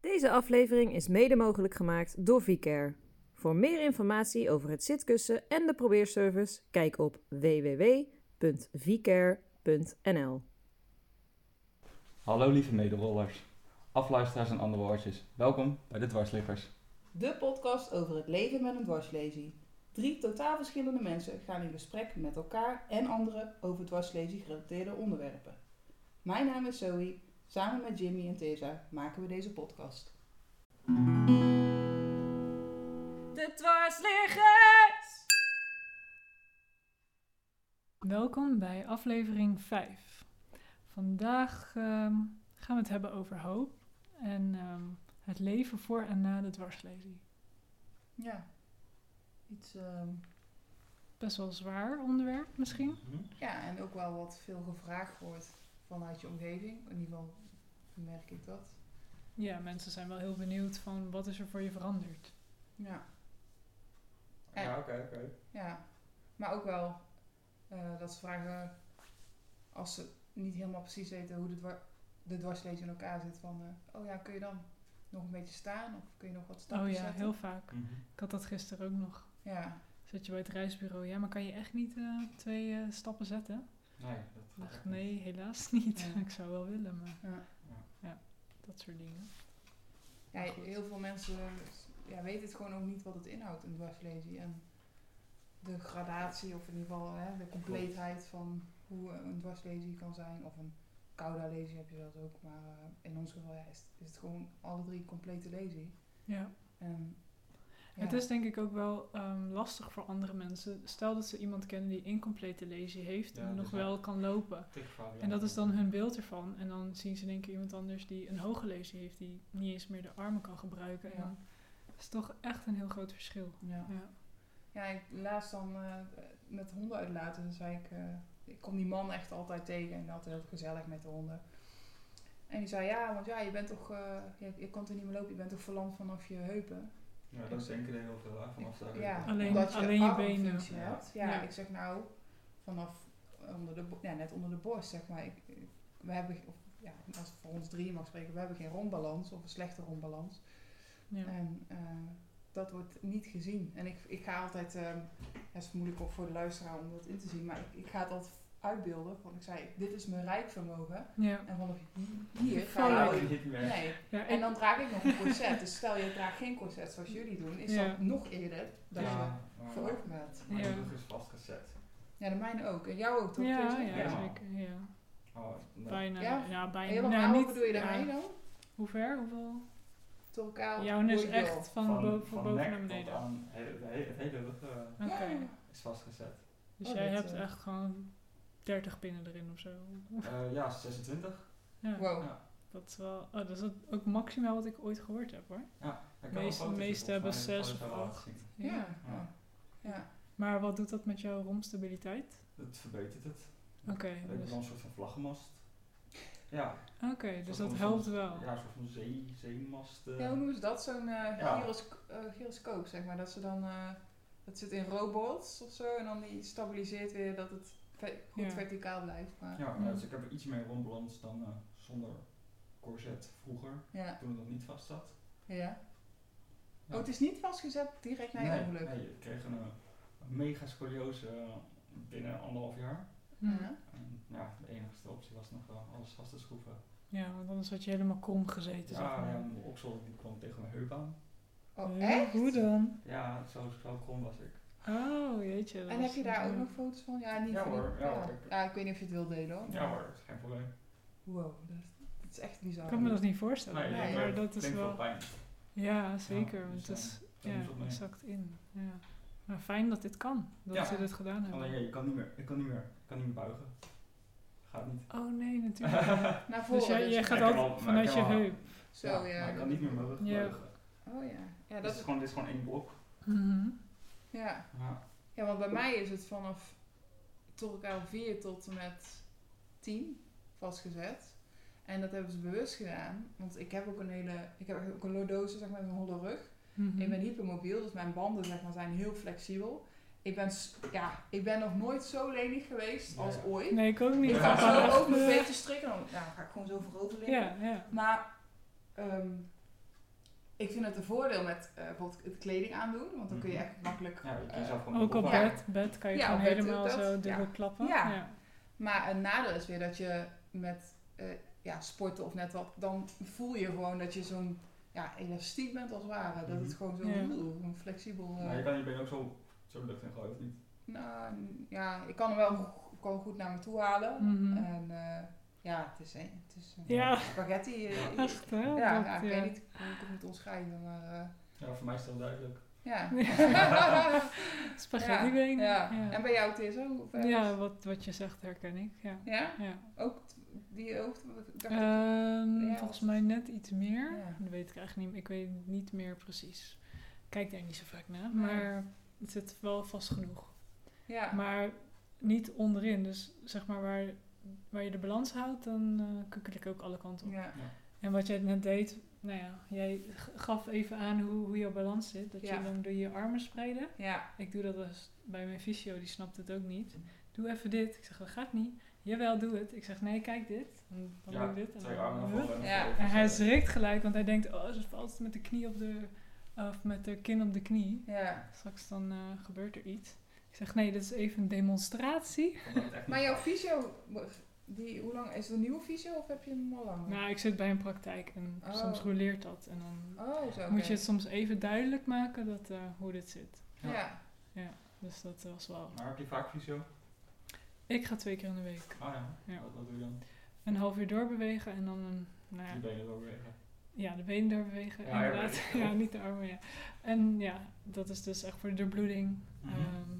Deze aflevering is mede mogelijk gemaakt door VCare. Voor meer informatie over het zitkussen en de probeerservice, kijk op www.vcare.nl. Hallo lieve mederollers, afluisteraars en andere oortjes. Welkom bij de Dwarsliggers. De podcast over het leven met een dwarslesie. Drie totaal verschillende mensen gaan in gesprek met elkaar en anderen over dwarslesie gerelateerde onderwerpen. Mijn naam is Zoe. Samen met Jimmy en Tessa maken we deze podcast. De dwarsliggers! Welkom bij aflevering 5. Vandaag ehm, gaan we het hebben over hoop en ehm, het leven voor en na de dwarslesie. Ja, iets. ehm, Best wel zwaar onderwerp misschien. Mhm. ja, en ook wel wat veel gevraagd wordt vanuit je omgeving. In ieder geval merk ik dat. Ja, mensen zijn wel heel benieuwd van wat is er voor je veranderd. Ja, Ja, oké, oké. ja. Maar ook wel eh, dat ze vragen als ze niet helemaal precies weten hoe de, dwar de dwarslees in elkaar zit. Van, eh, oh ja, kun je dan nog een beetje staan? Of kun je nog wat Oh stapjes ja, zetten? heel vaak. Mhm. Ik had dat gisteren ook nog. Ja, Zit je bij het reisbureau, ja, maar kan je echt niet eh, twee eh, stappen zetten? Nee, Ik dat dacht, nee, helaas niet. Ja. Ik zou wel willen, maar ja. dat soort dingen. ja Maar goed. heel veel mensen ja, weten het gewoon ook niet wat het inhoudt, een dwarslesie. En de gradatie, of in ieder geval hè, de compleetheid van hoe een dwarslesie kan zijn. Of een koude lesie heb je zelfs ook. Maar eh, in ons geval ja, is, is het gewoon alle drie complete lesie. Ja. En, Ehm, ja. Het is denk ik ook wel ehm, lastig voor andere mensen. Stel dat ze iemand kennen die incomplete lesie heeft Ja, en nog dus wel dat- kan lopen. En dat is dan hun beeld ervan. En dan zien ze denk ik iemand anders die een hoge lesie heeft, die niet eens meer de armen kan gebruiken. En Ja. dan is het toch echt een heel groot verschil. Ja. Ja. Ja, ik, laatst dan eh, met honden uitlaten, dan zei ik, eh, ik kom die man echt altijd tegen en altijd heel gezellig met de honden. En die zei, ja, want ja, je bent toch, eh, je, je kan er niet meer lopen, je bent toch verlamd vanaf je heupen. Ja, dat denken er heel veel aan vanaf Ik- daar. ja, Alleen- omdat je alleen je armfunctie benen. hebt. Ja, Ja. ik zeg nou, vanaf onder de, bo- ja, net onder de borst, zeg maar. Ik, ik- we hebben, of, ja, als ik voor ons drieën mag spreken, we hebben geen rondbalans of een slechte rondbalans. Ja. En eh, dat wordt niet gezien. En ik, ik ga altijd, ehm, ja, het is moeilijk ook voor de luisteraar om dat in te zien, maar ik, ik ga het altijd uitbeelden. Want ik zei, dit is mijn rijkvermogen. Ja. En vanaf hier ga Vallen. je... niet meer. Nee. Ja, En ik- dan draag ik nog een corset. Dus stel je draagt geen corset zoals jullie doen, is Ja. dat nog eerder dat ja, je maar- verhoogd bent. maar de Ja. rug is vastgezet. Ja, de mijne ook. En jou ook toch? ja, Tessa? ja, Ja. zeker. Ja. Oh, nee. Bijna. Ja? Ja, bijna. Helemaal, Nou, hoe bedoel je daarmee ja. dan? Hoe ver? Hoeveel? Tot elkaar? Jouw is door je echt van, boven, van nek boven naar tot beneden. Oké. aan- he- de he- Het hele rug eh, is vastgezet. Dus Oh, jij dat, hebt eh. echt gewoon 30 pinnen erin of zo. Eh, ja, 26. Ja. door. Wow. Dat is wel, oh, dat is het- ook maximaal wat ik ooit gehoord heb hoor. De Meeste- meeste hebben zes of acht. Ja. Ja. Ja. Maar wat doet dat met jouw romstabiliteit? Dat verbetert het. Oké, Ik dus, ben een soort van vlaggenmast. Ja, oké, dus Soort dat van- helpt wel. ja, een soort van zee, zeemast. eh. Ja, hoe noemen ze dat? Zo'n eh, Ja. gyrosco- eh, gyroscoop, zeg maar. Dat ze dan, eh, dat zit in robots of zo. En dan die stabiliseert weer dat het ve- goed Ja. verticaal blijft. Maar, ja. Ja, maar dus ik heb er iets meer rondbalans dan eh, zonder corset vroeger, Ja. toen het nog niet vast zat. Ja. Oh, het is niet vastgezet direct na je ongeluk. nee, ik kreeg een, eh, een mega scoliose eh, binnen anderhalf jaar. Hm. Ja. En, ja, de enige optie was nog wel alles vast te schroeven. Ja, want anders had je helemaal krom gezeten. zeg ja, maar. ja, mijn oksel die kwam tegen mijn heup aan. Oh, Huh? echt? Hoe dan? Ja, zo, zo krom was ik. Oh, jeetje. dat En was- eh, heb je daar ook ja. nog foto's van? Ja, niet Ja van hoor, die- ja ja. hoor. Ja, ik weet niet of je het wilt delen hoor. Ja hoor, geen probleem. Wow, dat is, dat is echt bizar. Ik kan me dat niet voorstellen. Nee, Nee, ik maar heb dat is flink veel wel... pijn. Ja, zeker. want dus, het is... daar Ja, moest op mee. het zakt in. Ja. Maar fijn dat dit kan. Dat Ja. ze dit gedaan hebben. Alleen ja, je kan niet meer, ik kan niet meer, ik kan niet meer buigen. Gaat niet. Oh nee, natuurlijk. niet. Naar voren dus jij, dus. jij Ik gaat kan altijd wel- maar vanuit ik je kan wel- heup. Zo, ja. maar ik dat- kan niet meer mijn rug Ja. buigen. Oh ja. Ja, Dit dat is is... gewoon, dit is gewoon één blok. Mhm. Ja. Ja. Ja, want bij mij is het vanaf tot elkaar 4 tot en met 10 vastgezet. En dat hebben ze bewust gedaan. Want ik heb ook een hele. Ik heb ook een lordose, zeg maar, met een holle rug. Mhm. Ik ben hypermobiel, dus mijn banden zeg maar, zijn heel flexibel. Ik ben, s- ja, ik ben nog nooit zo lenig geweest Ja, als ja. ooit. Nee, ik ook niet. Ik Ja. ga zo Echt, ook mijn eh, beetje strikken. Dan ja, dan ga ik gewoon zo voorover liggen. Ja, ja. Maar ehm, Ik vind het een voordeel met eh, bijvoorbeeld het kleding aandoen, want dan kun je echt makkelijk... Mhm. Ja, je kan eh, zelf gewoon Ook op Ja. bed, bed kan je Ja, gewoon op bed helemaal doe ik zo dat. dubbel Ja. klappen. Ja. Ja. Maar een nadeel is weer dat je met eh, ja, sporten of net wat, dan voel je gewoon dat je zo'n ja, elastiek bent als het ware. Dat het Mhm. gewoon zo Ja. oeh, een flexibel... eh, Maar je kan je been ook zo, zo de lucht in gooien, of niet? nou, ja, ik kan hem wel go- gewoon goed naar me toe halen. Mhm. En eh, ja, het is een, het is een Ja, spaghetti. eh, echt hè? ja, Dat, nou, ik weet niet hoe ik het moet omschrijven, maar eh, Ja, voor mij is het wel duidelijk. ja. Spaghetti been. ja. Ja. En bij jou TSO? Of, eh, Ja, wat, wat je zegt herken ik. Ja. ja? Ja. Ook t- die ook? dacht ik- Ehm, Ja, volgens wat- mij net iets meer. Ja. Dat weet ik eigenlijk niet. Ik weet niet meer precies. Ik Kijk daar niet zo vaak naar. Nee. Maar het zit wel vast genoeg. ja. Maar niet onderin. Dus zeg maar waar, waar je de balans houdt, dan eh kukkel ik ook alle kanten op. ja. En wat jij net deed, nou ja, jij g- gaf even aan hoe, hoe jouw balans zit. Dat Ja. je dan door je armen spreiden. Ja. Ik doe dat als- bij mijn fysio, die snapt het ook niet. Doe even dit. Ik zeg, dat gaat niet. Jawel, doe het. Ik zeg, nee, kijk dit. En dan ja, doe ik dit. En, twee dan- armen naar voren. en dan Ja. gooi je en hij vanzelf. schrikt gelijk, want hij denkt, oh, ze valt met de knie op de... Of met de kin op de knie. ja. Straks dan eh, gebeurt er iets. Ik zeg, nee, dit is even een demonstratie. Ik vond dat echt Maar niet jouw fijn. fysio, die, hoe lang is het een nieuwe fysio of heb je hem al lang? Nou, ik zit bij een praktijk en Oh. soms roleert dat. En dan oh, zo. moet oké. je het soms even duidelijk maken dat, eh, hoe dit zit. Ja. Dus dat was wel... Maar heb je vaak fysio? Ik ga twee keer in de week. Ah ja. Ja. Wat, wat doe je dan? Een half uur doorbewegen en dan een... Nou ja, Je benen doorbewegen. Ja, de benen doorbewegen, Ja, ja, inderdaad. ja. Ja, niet de armen, ja. En ja, dat is dus echt voor de doorbloeding. Mhm. Ehm,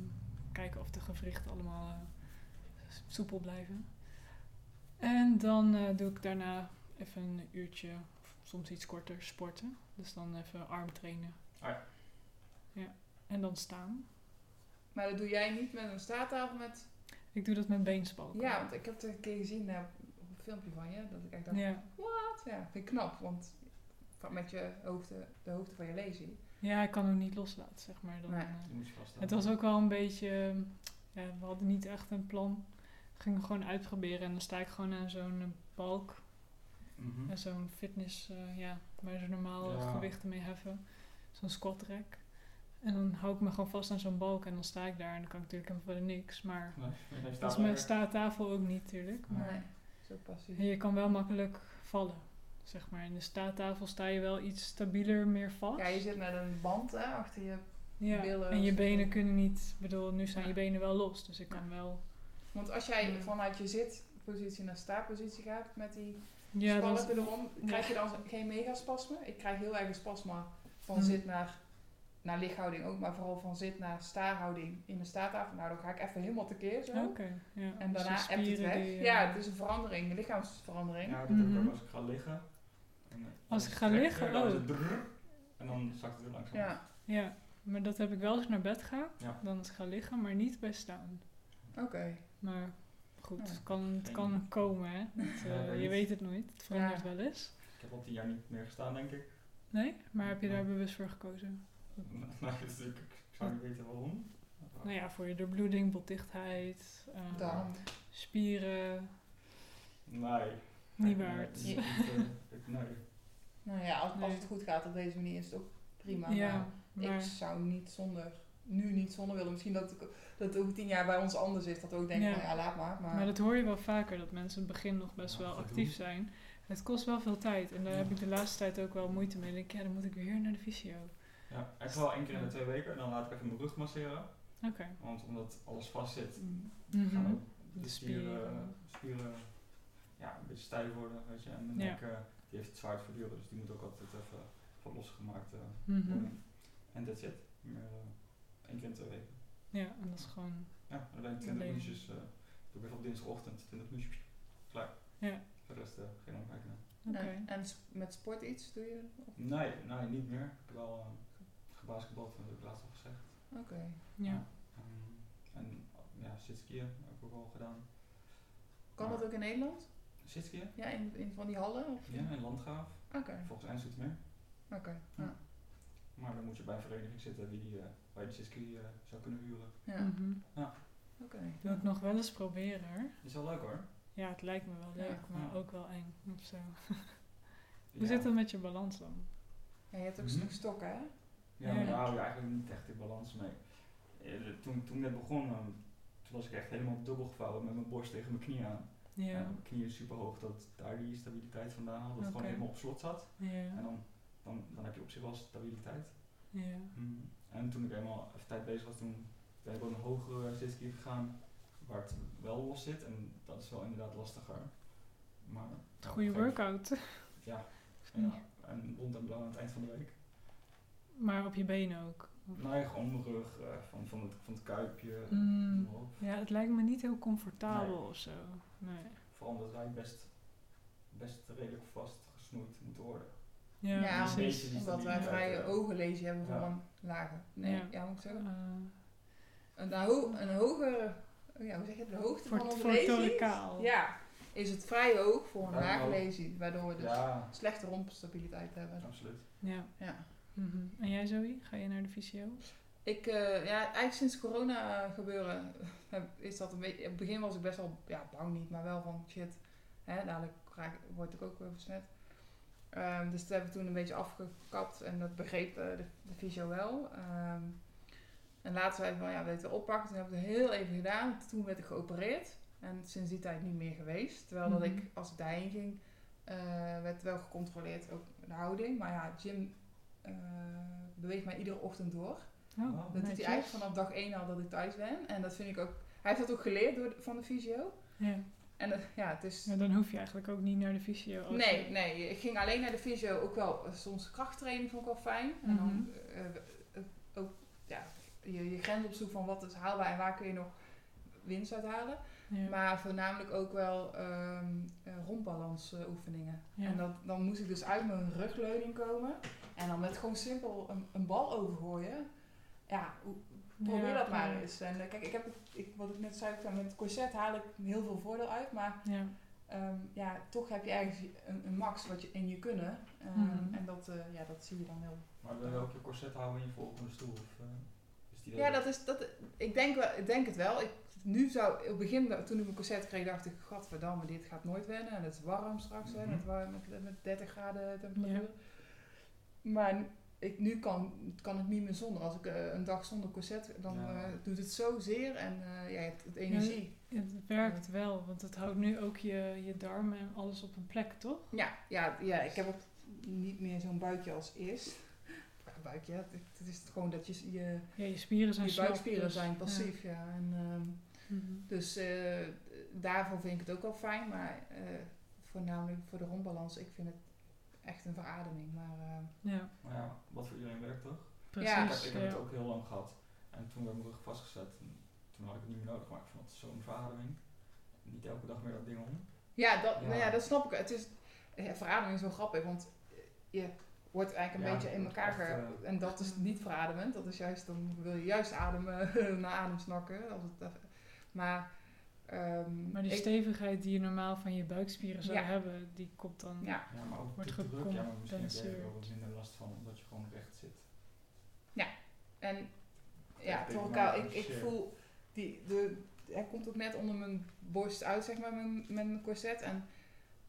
kijken of de gewrichten allemaal eh, soepel blijven. En dan eh, doe ik daarna even een uurtje, of soms iets korter, sporten. Dus dan even arm trainen. Ah, ja. Ja, en dan staan. Maar dat doe jij niet met een staattafel met... Ik doe dat met beenspalken. Ja, want ik heb het een keer gezien eh, op een filmpje van je, dat ik echt dacht, Ja. wat? Ja, vind ik knap, want van- met je hoogte, de hoogte van je lazy. ja, ik kan hem niet loslaten, zeg maar. Dan, Nee. eh, Die moet je vast Het was ook wel een beetje. ehm, Ja, we hadden niet echt een plan. We gingen gewoon uitproberen en dan sta ik gewoon aan zo'n eh, balk. Mhm. Hm. En zo'n fitness, eh, ja, waar ze normaal Ja. gewichten mee heffen. Zo'n squat rack. En dan hou ik me gewoon vast aan zo'n balk en dan sta ik daar. En dan kan ik natuurlijk helemaal verder niks. Maar Nee, hij staat dat is mijn lekker. staattafel ook niet, natuurlijk. Maar Nee, zo passief. en je kan wel makkelijk vallen. Zeg maar, in de staattafel sta je wel iets stabieler, meer vast. Ja, je zit met een band hè, achter je... Ja, billen en je of- benen kunnen niet, ik bedoel, nu staan Ja. je benen wel los. Dus ik kan wel Want als jij Ja. vanuit je zitpositie naar staatpositie gaat met die Ja, dat spalken erom, krijg je dan geen megaspasme? Ik krijg heel erg een spasma van Mhm. zit naar, naar lichthouding ook, maar vooral van zit naar staarhouding in de staattafel. Nou, dan ga ik even helemaal tekeer zo. Oké, ja. En Dus daarna die hebt het spieren weg. die, eh, ja, het is een verandering, een lichaamsverandering. Ja, dat doe ik ook Mhm. als ik ga liggen. En, eh, Als dan ik ga trek liggen, dan is oh. het drrrr. En dan zakt het heel langzaam. Ja, ja, maar dat heb ik wel als ik naar bed ga. Ja. Dan als ik ga liggen, maar niet bij staan. oké. Maar goed, Ja. het kan, het Geen kan idee. komen, hè. Dat, eh, weet je niet. weet het nooit. Het verandert Ja. wel eens. Ik heb al tien jaar niet meer gestaan, denk ik. Nee? Maar heb je daar Ja. bewust voor gekozen? Maar dus ik, ik zou niet weten waarom. Nou ja, voor je doorbloeding, botdichtheid, eh, Dan. spieren. Nee. Nee, Niet waard. nee, niet, eh, ik- Nee. Nou ja, als, als Nee. het goed gaat op deze manier is het ook prima. ja, maar maar... Ik zou niet zonder, nu niet zonder willen. Misschien dat, ik, dat het over tien jaar bij ons anders is. Dat we ook denken Ja. van ja, laat maar. Maar, Maar dat hoor je wel vaker, dat mensen in het begin nog best Ja, wel gedoe. actief zijn. Het kost wel veel tijd. En daar Ja. heb ik de laatste tijd ook wel moeite mee. Dan denk ik, ja, dan moet ik weer naar de fysio. Ja, ik ga wel één keer in de twee weken en dan laat ik even mijn rug masseren. Oké. Want omdat alles vast zit, Mm. gaan Mhm. ook de De spieren, spieren. spieren ja, een beetje stijf worden. Weet je. En de Ja. nek eh, die heeft het zwaard verduren, dus die moet ook altijd even van losgemaakt eh, Mhm. worden. En dat zit. Maar, eh, één keer in de twee weken. Ja, en dat is gewoon. Ja, dan ben ik Dat 20 leven. minuutjes. eh doe ik even op dinsdagochtend 20 minuutjes. pssst, Klaar. Ja. Voor de rest eh, geen opmerkingen. Oké. Nou, En s- met sport iets doe je? Of- Nee, nee, niet meer. Ik heb wel eh gebasketbald, dat heb ik laatst al gezegd. Oké. Ja. Ehm, en ja, zitskiën heb ik ook al gedaan. Kan dat ook in Nederland? Zitskiën? Ja, in, in van die hallen? Of? Ja, in Landgraaf. Oké, Volgens Eind meer. oké. Ja. Maar dan moet je bij een vereniging zitten die, eh, waar je de zitski eh, zou kunnen huren. Ja, Mhm. oké. Ik wil het nog wel eens proberen hoor. Is wel leuk hoor. Ja, het lijkt me wel Ja. leuk, maar Ja. ook wel eng of zo. Hoe Ja. zit dat met je balans dan? Ja, je hebt ook Mhm. nog stokken, hè? Ja, maar Ja. daar hou je eigenlijk niet echt de balans mee. Eh, de- Toen, toen ik net begon, eh, toen was ik echt helemaal dubbel gevouwen met mijn borst tegen mijn knie aan. En Ja, mijn knie is super hoog, dat daar die stabiliteit vandaan had, dat het Oké. gewoon helemaal op slot zat. En ja, dan, dan, dan heb je op zich wel stabiliteit. ja. Mm. En toen ik eenmaal even tijd bezig was, toen ben ik ook een hogere zitskier gegaan, waar het wel los zit. En dat is wel inderdaad lastiger. Maar Goede workout. ja, Ja. ja. en rond en blauw aan het eind van de week. Maar op je benen ook. Nee, gewoon mijn rug, eh, van, van, het, van het kuipje, noem Mm, maar op. Ja, het lijkt me niet heel comfortabel of zo. Nee. Vooral omdat wij best, best redelijk vastgesnoeid moeten worden. Ja, Ja, precies. een beetje. Omdat wij vrije ogenlezen hebben Ja. van lager. Nee, Ja. ja, moet ik zeggen. Eh, Een, ho- een hogere, ja, hoe zeg je, de hoogte voor van het onze voor het lezing toricaal. ja, is het vrije oog voor een Vrije laag oog. lezing, waardoor we dus Ja, slechte rompstabiliteit hebben. absoluut. Ja. Ja. Mhm. En jij Zoe, ga je naar de Oh, fysio? Ik, eh, ja, eigenlijk sinds corona eh, gebeuren heb- is dat een beetje. In het begin was ik best wel ja, bang niet, maar wel van shit, hè, dadelijk raak, word ik ook weer besmet. Ehm, dus dat hebben we toen een beetje afgekapt en dat begreep eh, de, de fysio wel. Ehm, en later zei ik van ja, weet je oppakken. Toen heb ik het heel even gedaan. Toen werd ik geopereerd en sinds die tijd niet meer geweest. Terwijl dat Mhm. ik als ik daarheen ging, eh, werd wel gecontroleerd, ook de houding. Maar ja, Jim eh, beweegt mij iedere ochtend door. Oh, Dat doet netjes. hij eigenlijk vanaf dag 1 al dat ik thuis ben. En dat vind ik ook... Hij heeft dat ook geleerd door, de- van de fysio. Ja. En dat- ja, het is... Ja, dan hoef je eigenlijk ook niet naar de fysio. als Nee, je- nee. Ik ging alleen naar de fysio. Ook wel eh, soms krachttraining vond ik wel fijn. En dan Mhm. eh, eh, ook ja, je, je grens opzoeken van wat is haalbaar en waar kun je nog winst uit halen. Ja. Maar voornamelijk ook wel ehm rondbalans eh, oefeningen. Ja. En dat, dan moest ik dus uit mijn rugleuning komen. En dan met gewoon simpel een, een bal overgooien. Ja, hoe, Probeer Ja, dat maar ja. eens. En eh, kijk, ik heb het, ik, wat ik net zei, ik zei, met het corset haal ik heel veel voordeel uit. Maar Ja. ehm, ja, toch heb je ergens een, een max wat je, in je kunnen. Ehm, Mhm. En dat, eh, ja, dat zie je dan heel. Maar wil je ook je corset houden in je volgende stoel? Of, eh, is die Ja, dat is, dat, ik, denk wel, ik denk het wel. Ik, nu zou, op het begin, dat- toen ik mijn corset kreeg, dacht ik, gadverdamme, dit gaat nooit wennen. En het is warm straks, hè, Mhm. met, wa- met, met 30 graden temperatuur. Maar nu- ik, nu kan, kan het niet meer zonder. Als ik eh, een dag zonder corset, dan Ja. eh, doet het zo zeer. En eh, ja, het, het energie... Het werkt wel, want het houdt nu ook je, je darmen en alles op een plek, toch? Ja, ja, ja ik heb ook niet meer zo'n buikje als eerst. Ja, buikje, het, het is gewoon dat je je, Ja, je spieren zijn je slap, buikspieren dus- zijn passief. Ja. En, ehm, Ja. Mhm. dus eh, daarvoor vind ik het ook wel fijn, maar eh, voornamelijk voor de rondbalans, ik vind het echt een verademing. Maar eh, Ja, Maar ja, wat voor iedereen werkt toch? Ik heb, precies. ik Ja. heb het ook heel lang gehad. En toen werd mijn rug vastgezet. En toen had ik het niet meer nodig, maar ik vond het zo'n verademing. Niet elke dag meer dat ding om. ja, dat, Ja. Nou ja, dat snap ik. Het is, eh, ja, verademing is wel grappig, want eh, je wordt eigenlijk een Ja, beetje in het wordt elkaar ge... echt, eh, En dat is niet verademend. Dat is juist, dan wil je juist ademen, naar adem snakken. Als het, even- maar... ehm, Maar die ik- stevigheid die je normaal van je buikspieren zou Ja. hebben, die komt dan... Ja, Ja, maar ook Wordt de druk. Ja, maar misschien heb jij er wel gecompenseerd. wat minder last van, omdat je gewoon recht zit. en ja, Echt toch tegen elkaar, mij ik, ik geforceerd. voel... Die, de, hij komt ook net onder mijn borst uit, zeg maar, mijn, met mijn corset. En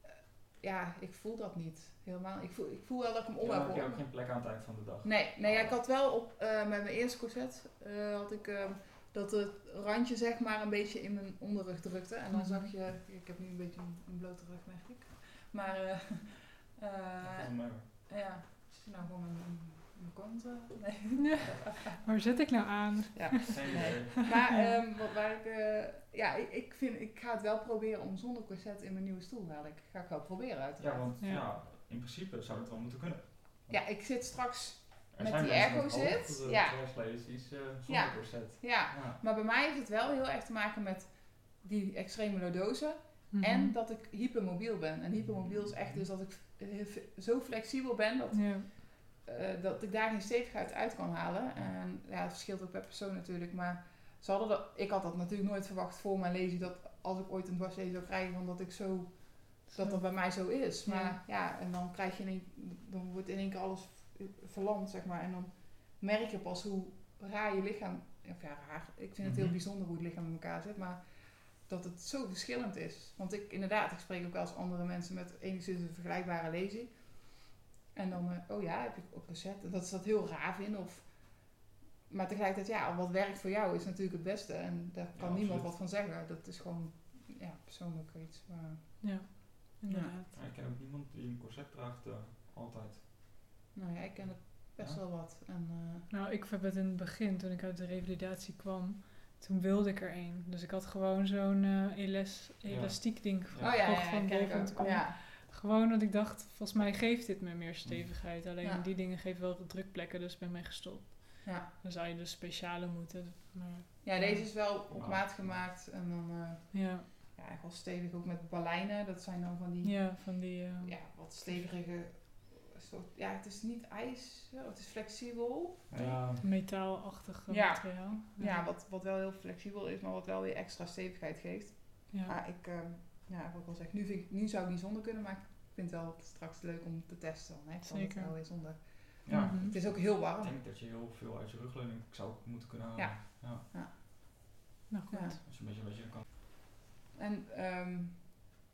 eh, ja, ik voel dat niet helemaal. Ik voel, ik voel wel dat ik hem om Ja, heb, maar ik heb hoor. ook geen plek aan het eind van de dag. Nee, nee ja, ik had wel op, eh, met mijn eerste corset eh, had ik ehm, dat het randje zeg maar een beetje in mijn onderrug drukte. En dan Mhm. zag je, ik heb nu een beetje een, een blote rug merk ik. Maar eh, Dat eh, valt wel mee, hoor. ja, is het nou gewoon mijn, mijn, mijn kont? eh? Nee. Waar zit ik nou aan? Geen Nee. idee. Maar ehm, wat, waar ik, eh, ja, ik, ik, vind, ik ga het wel proberen om zonder corset in mijn nieuwe stoel te halen. Ik ga ik wel proberen Ja, uiteraard. Ja, want Ja. ja. in principe zou het wel moeten kunnen. ik zit straks, Er Met zijn die mensen airco met zit? hogere Ja. dwarslezers, eh, zonder Ja. corset. ja. Ja. Maar bij mij heeft het wel heel erg te maken met die extreme lordose. Mhm. En dat ik hypermobiel ben. En hypermobiel is echt dus dat ik eh, zo flexibel ben dat, Ja. eh, dat ik daar geen stevigheid uit kan halen. En ja, het verschilt ook per persoon natuurlijk. Maar ze hadden dat, ik had dat natuurlijk nooit verwacht voor mijn lezing. Dat als ik ooit een dwarslezen zou krijgen, van dat ik zo, dat dat bij mij zo is. Maar Ja. ja, en dan krijg je in één, dan wordt in één keer alles verlamd, zeg maar. En dan merk je pas hoe raar je lichaam, of ja, raar. Ik vind het heel Mhm. bijzonder hoe het lichaam in elkaar zit, maar dat het zo verschillend is. Want ik, inderdaad, ik spreek ook wel eens andere mensen met enigszins een vergelijkbare lesie. En dan, eh, oh ja, heb ik op recept. Dat ze dat heel raar vinden. Of... Maar tegelijkertijd, ja, wat werkt voor jou is natuurlijk het beste. En daar kan niemand absoluut. wat van zeggen. Dat is gewoon ja, persoonlijk iets. Maar, Ja, inderdaad. Maar ik ken ook niemand die een corset draagt eh, altijd. nou ja, ik ken het best Ja. wel wat. En, eh, Nou, ik heb het in het begin, toen ik uit de revalidatie kwam, toen wilde ik er een. Dus ik had gewoon zo'n eh, elas- Ja. elastiek ding gekocht oh ja, ja, ja, van ken ik Bol.com. ook. Ja. Gewoon dat ik dacht, volgens mij geeft dit me meer stevigheid. Alleen Ja. die dingen geven wel drukplekken, dus ik ben mee gestopt. Ja. Dan zou je dus speciale moeten. Maar ja, deze is wel op Ja. maat gemaakt. En dan, eh, ja, ja, echt wel stevig ook met baleinen. Dat zijn dan van die ja van die... eh, ja, wat stevige soort. Ja, het is niet ijs, ja, het is flexibel. Ja, metaalachtige Ja. materiaal. Ja, wat, wat wel heel flexibel is, maar wat wel weer extra stevigheid geeft. Ja. Maar ik, ehm, ja, wat ik al zeg, nu, vind ik, nu zou ik niet zonder kunnen, maar ik vind het wel straks leuk om te testen. Dan, hè, kan het Zeker. wel weer zonder. ja. Mhm. Het is ook heel ik warm. denk dat je heel veel uit je rugleuning zou moeten kunnen halen. Ja. Nou goed. Ja. Als je een beetje, een beetje kan. En ehm,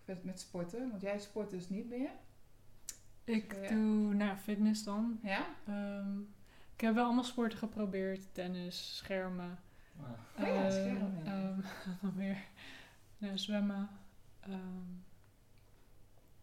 met, met sporten, want jij sport dus niet meer. Ik Ja. doe nou, fitness dan. Ja? Ehm, ik heb wel allemaal sporten geprobeerd. Tennis, schermen. Maar Oh ja, eh, schermen, ja. ehm, wat nog meer. Nou, zwemmen. ehm,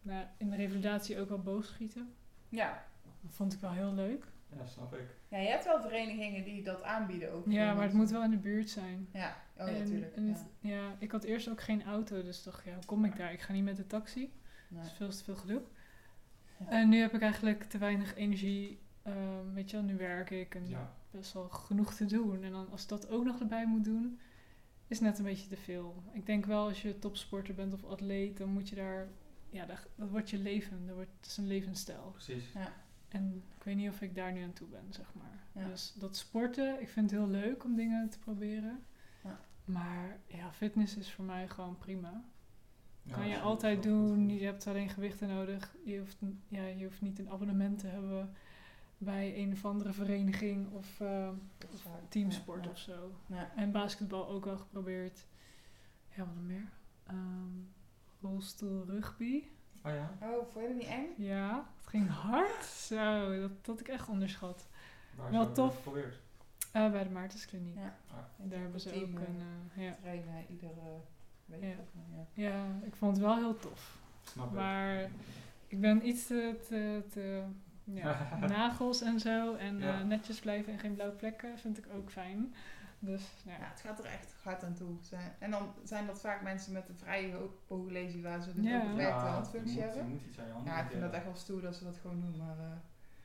nou, in de revalidatie ook wel boogschieten. Ja. Dat vond ik wel heel leuk. ja, snap ik. ja. Je hebt wel verenigingen die dat aanbieden ook. Ja, voor maar het mensen. moet wel in de buurt zijn. Ja, oh ja, En- natuurlijk. en het- ja. ja. ik had eerst ook geen auto, dus dacht ja, hoe kom ik daar? Ik ga niet met de taxi. Nee. Dat is veel te veel gedoe. Ja. En nu heb ik eigenlijk te weinig energie. ehm, weet je wel, nu werk ik en Ja. best wel genoeg te doen. En dan als dat ook nog erbij moet doen, is net een beetje te veel. Ik denk wel als je topsporter bent of atleet, dan moet je daar... Ja, dat, dat wordt je leven. Dat wordt dat is een levensstijl. Precies. En ik weet niet of ik daar nu aan toe ben, zeg maar. Ja. Dus dat sporten, ik vind het heel leuk om dingen te proberen. Ja. Maar ja, fitness is voor mij gewoon prima. Ja, kan je absoluut. altijd Dat is wel goed. doen. Je hebt alleen gewichten nodig. Je hoeft, n- ja, je hoeft niet een abonnement te hebben bij een of andere vereniging of eh, Dat is waar. teamsport Ja, ja. of zo. Ja. En basketbal ook wel geprobeerd. Ja, wat nog meer? Ehm, rolstoel rugby. Oh ja? Oh, vond je dat niet eng? Ja, het ging hard. Zo, dat dat had ik echt onderschat. Waar Wel zou je dat tof. geprobeerd? Eh, bij de Maartenskliniek. Ja. Daar hebben ze ook Team, eh, een... eh, ja. trainen iedere week. Ja. volgens mij, ja. ja, ik vond het wel heel tof. Snap ik. Maar ik ben iets te... te, te ja, nagels en zo. En Ja. eh, netjes blijven en geen blauwe plekken vind ik ook fijn. Dus Ja, ja. het gaat er echt hard aan toe. Ze- En dan zijn dat vaak mensen met een vrije ho- pooglesie waar ze dus Ja. ook een beperkte handfunctie je moet, je hebben. moet iets aan je handen Ja, ik vind dat hebben. echt wel stoer dat ze dat gewoon doen, maar eh,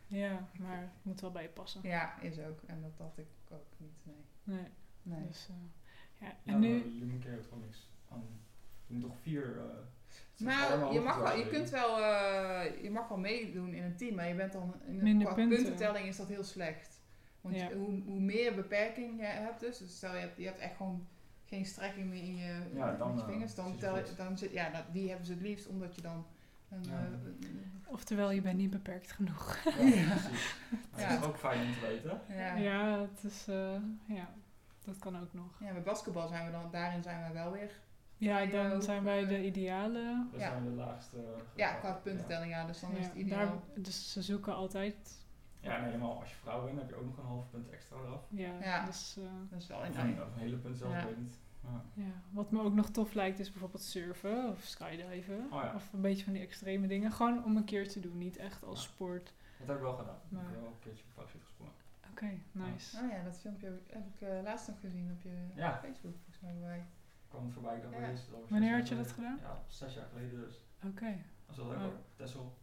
ja, maar het moet wel bij je passen. ja, is ook. En dat had ik ook niet, nee. Nee, nee. dus, eh, ja. Ja, En maar nu... Jullie moeten er gewoon niks aan. Je moet toch vier. eh zes armen Nou, je, mag hoogte wel, je, afsteken. kunt wel, eh, je mag wel meedoen in een team, maar je bent dan in Minder qua punten. puntentelling is dat heel slecht. Want Ja. je- hoe, hoe meer beperking je hebt dus, dus stel je hebt, je hebt echt gewoon geen strekking meer in je, Ja, in dan, je eh, vingers, dan, zit je tel, je- goed. dan zit, ja, dat- die hebben ze het liefst omdat je dan een, Ja. eh, Oftewel, je bent niet beperkt genoeg. Ja, precies. Maar Ja. Dat is ook fijn om te weten. Ja. Ja, Ja. het is... eh, ja, dat kan ook nog. met basketbal zijn we dan, daarin zijn we wel weer. Ja, je dan ook, zijn wij eh, de ideale We Ja. zijn de laagste. eh, Ja, getal. qua puntentelling, ja, dus dan is Ja, het ideaal. daar- dus ze zoeken altijd. Ja, en helemaal als je vrouw bent, heb je ook nog een half punt extra eraf. Ja, Ja. Dus, eh, Dat is wel Of in een, of een hele punt zelfs, Ja. ik weet niet. Ja. ja. Wat me ook nog tof lijkt is bijvoorbeeld surfen of skydiven. Oh ja. Of een beetje van die extreme dingen. Gewoon om een keer te doen, niet echt als Ja. sport. Dat heb ik wel gedaan. Ik Maar- heb wel een keertje op parachute gesprongen. Oké, nice. Oh ja, dat filmpje heb ik, heb ik, eh, laatst nog gezien op je Ja. Facebook, volgens mij. bij. Ik kwam voorbij, ik dacht, Ja. wel eens, dat was Wanneer zes had je jaar dat geleden. Ja, zes jaar geleden dus. Oké, Dat is wel leuk Oh. hoor. Tessel.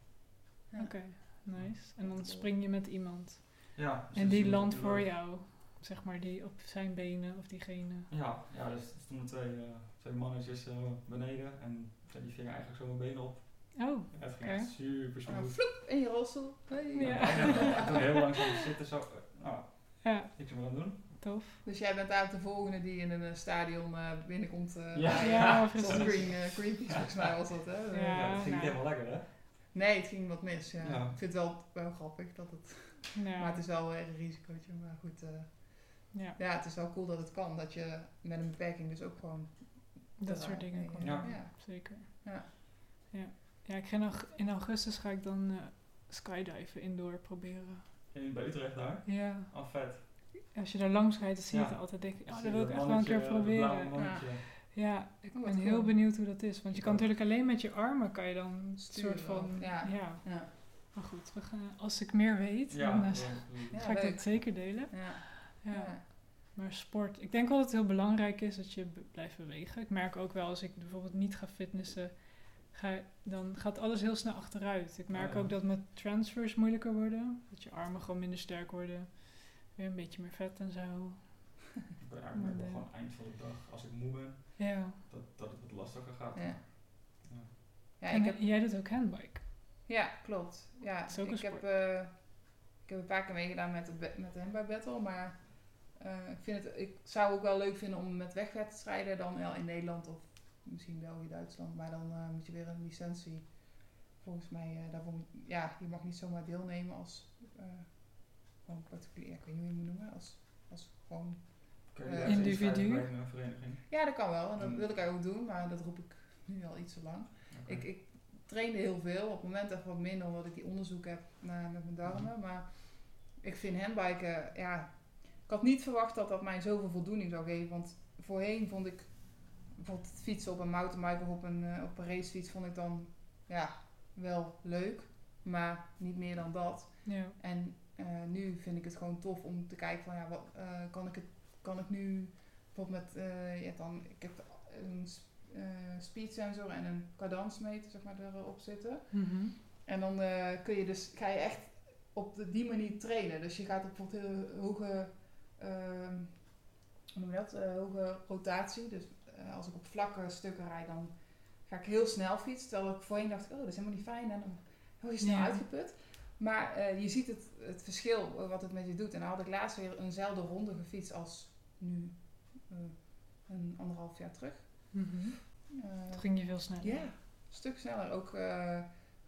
Ja. oké, nice. En dan spring je met iemand. Ja. dus En die toen- landt toen- voor jou. Zeg maar die op zijn benen of diegene. Ja, ja, dus er stonden twee, eh, twee mannetjes eh, beneden en ja, die vingen eigenlijk zo mijn benen op. Oh, Ja, het ging Oké. echt super En dan smooth. Ah, vloep, in je rolstoel. Hey. Ja. Ja. en toen heel langzaam zitten zo. eh, Nou, ja, niks meer aan doen. tof. Dus jij bent daar de volgende die in een eh, stadion eh, binnenkomt. eh Ja. bij, eh, Ja, zoals precies. Green, eh, Greenpeace, volgens mij was dat, hè? Ja, Ja, dat ging niet nou. helemaal lekker hè. Nee, het ging wat mis, ja. Ja. Ik vind het wel, wel grappig dat het... Ja, Maar het is wel weer een risicootje, maar goed. eh, ja ja, het is wel cool dat het kan, dat je met een beperking dus ook gewoon... dat soort dingen. kan. komen. Ja. ja. Zeker. Ja. Ja, ja ik ga in, aug- in augustus ga ik dan eh, skydiven indoor proberen. In, bij Utrecht daar. Ja, Ah, vet. als je daar langs rijdt, dan zie je Ja. het altijd. denk ik, oh, Zie dat wil je ik echt wel een keer mannetje, dat blauwe proberen. mannetje. Ja, ik Oh, ben wat heel cool. beeld hoe dat is. Want je Ik kan ook. natuurlijk alleen met je armen kan je dan een Sturen soort van... ook, ja. ja. Ja. Maar goed, we gaan, als ik meer weet, Ja, dan eh, dan- Ja. ga ik leuk. dat zeker delen. Ja. Ja. Maar sport, ik denk wel dat het heel belangrijk is dat je b- blijft bewegen. Ik merk ook wel, als ik bijvoorbeeld niet ga fitnessen, ga, dan gaat alles heel snel achteruit. Ik merk Oh. ja. ook dat mijn transfers moeilijker worden. Dat je armen gewoon minder sterk worden. Weer een beetje meer vet en zo. Ik ben eigenlijk wel gewoon eind van de dag, als ik moe ben, Ja. dat, dat het wat lastiger gaat. Ja. Ja, en ik heb, jij doet ook handbike. ja, klopt. Ja, is ook een ik, heb, sport. eh, ik heb een paar keer meegedaan met, de, ba- met de handball battle, maar eh, ik, vind het, ik zou ook wel leuk vinden om met wegwedstrijden dan wel in Nederland of misschien België, Duitsland, maar dan eh, moet je weer een licentie. Volgens mij, eh, daarvoor moet- ja, je mag niet zomaar deelnemen als eh, gewoon particulier, ja, ik weet niet hoe je het moet noemen, als, als gewoon... Kun je Eh, daar eens individu? inschrijven bij een eh, vereniging? Ja, dat kan wel en dat Hmm. wil ik eigenlijk ook doen, maar dat roep ik nu al iets te lang. Oké. Ik, ik trainde heel veel. Op het moment echt wat minder, omdat ik die onderzoek heb naar, met mijn darmen. Maar ik vind handbiken, ja... Ik had niet verwacht dat dat mij zoveel voldoening zou geven. Want voorheen vond ik bijvoorbeeld het fietsen op een mountainbike of op een, eh, op een racefiets... vond ik dan, ja, wel leuk. Maar niet meer dan dat. Ja. En eh, nu vind ik het gewoon tof om te kijken van ja, wat eh, kan ik het kan ik nu bijvoorbeeld met eh, je hebt dan ik heb een s- eh, speed sensor en een kadansmeter zeg maar erop zitten. Mhm. En dan eh, kun je dus ga je echt op de, die manier trainen. Dus je gaat op bijvoorbeeld heel hoge ehm, hoe noem je dat? Eh, hoge rotatie. Dus eh, als ik op vlakke stukken rijd dan ga ik heel snel fietsen. Terwijl ik voorheen dacht, oh dat is helemaal niet fijn en dan word je snel Ja. uitgeput. Maar eh, je ziet het, het verschil eh, wat het met je doet. En dan had ik laatst weer eenzelfde ronde gefietst als nu eh, een anderhalf jaar terug. Mhm. Eh, Toen ging je veel sneller. ja, een stuk sneller. Ook, eh,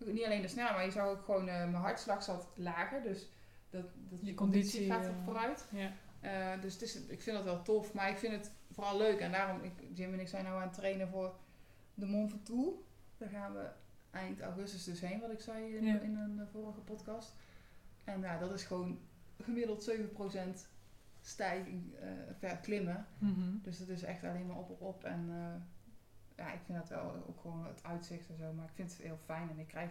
niet alleen de snelheid, maar je zag ook gewoon, eh, mijn hartslag zat lager. Dus dat, dat Je je conditie, conditie, gaat eh, er vooruit. Ja. Eh, dus het is, ik vind dat wel tof, maar ik vind het vooral leuk. En daarom, ik, Jim en ik zijn nou aan het trainen voor de Mont Ventoux. Daar gaan we eind augustus dus heen, wat ik zei in, Ja. in een eh, vorige podcast. En nou, dat is gewoon gemiddeld 7% stijging eh, ver klimmen. Mhm. Dus dat is echt alleen maar op, op, op. En eh, ja, ik vind dat wel ook gewoon het uitzicht en zo. Maar ik vind het heel fijn. En ik krijg,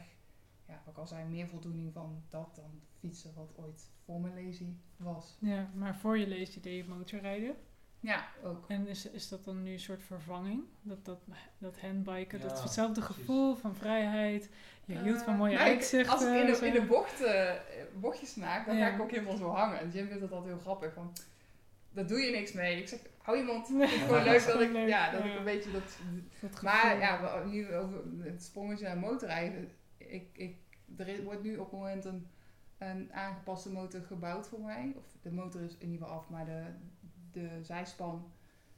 ja, wat ik al zei, meer voldoening van dat dan fietsen wat ooit voor mijn lazy was. ja. Maar voor je leest idee motorrijden. Ja, ook. En is, is dat dan nu een soort vervanging? Dat, dat, dat handbiken, dat is Ja, hetzelfde precies. gevoel van vrijheid. Je hield van Eh, mooie nou, ik- uitzichten. Als ik in zo. de, in de bocht, eh, bochtjes maak, dan Ja. ga ik ook helemaal zo hangen. En Jim vindt dat altijd heel grappig. Want daar doe je niks mee. Ik zeg, hou je mond. Nee. Ik vind het gewoon Dat is leuk dat gewoon ik, leuk, ja, dat ja. ik een beetje dat Dat gevoel. Maar ja, we- nu over het sprongetje naar motorrijden. Ik, ik, er is- wordt nu op het moment een, een aangepaste motor gebouwd voor mij. Of de motor is in ieder geval af, maar de, de zijspan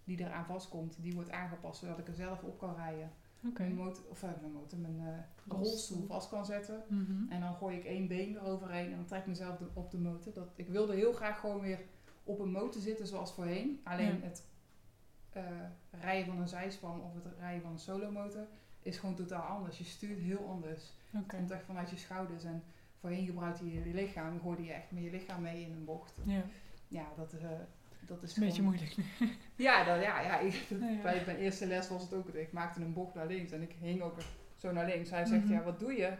die eraan vastkomt, die wordt aangepast zodat ik er zelf op kan rijden. Oké. Mijn motor, of eh, mijn motor, mijn eh, Rolstoel. rolstoel vast kan zetten. Mhm. En dan gooi ik één been eroverheen en dan trek ik mezelf de- op de motor. Dat, ik wilde heel graag gewoon weer op een motor zitten zoals voorheen. Alleen Ja. het eh, rijden van een zijspan of het rijden van een solomotor is gewoon totaal anders. Je stuurt heel anders. Oké. Het komt echt vanuit je schouders. En voorheen gebruikte je je lichaam, hoorde je echt met je lichaam mee in een bocht. Ja, Ja, dat, eh, dat is is een beetje gewoon- moeilijk nu. Ja, dat, ja, ja, ik- Ja, ja. bij mijn eerste les was het ook. Ik maakte een bocht naar links en ik hing ook zo naar links. Hij zegt, Mhm. ja, wat doe je?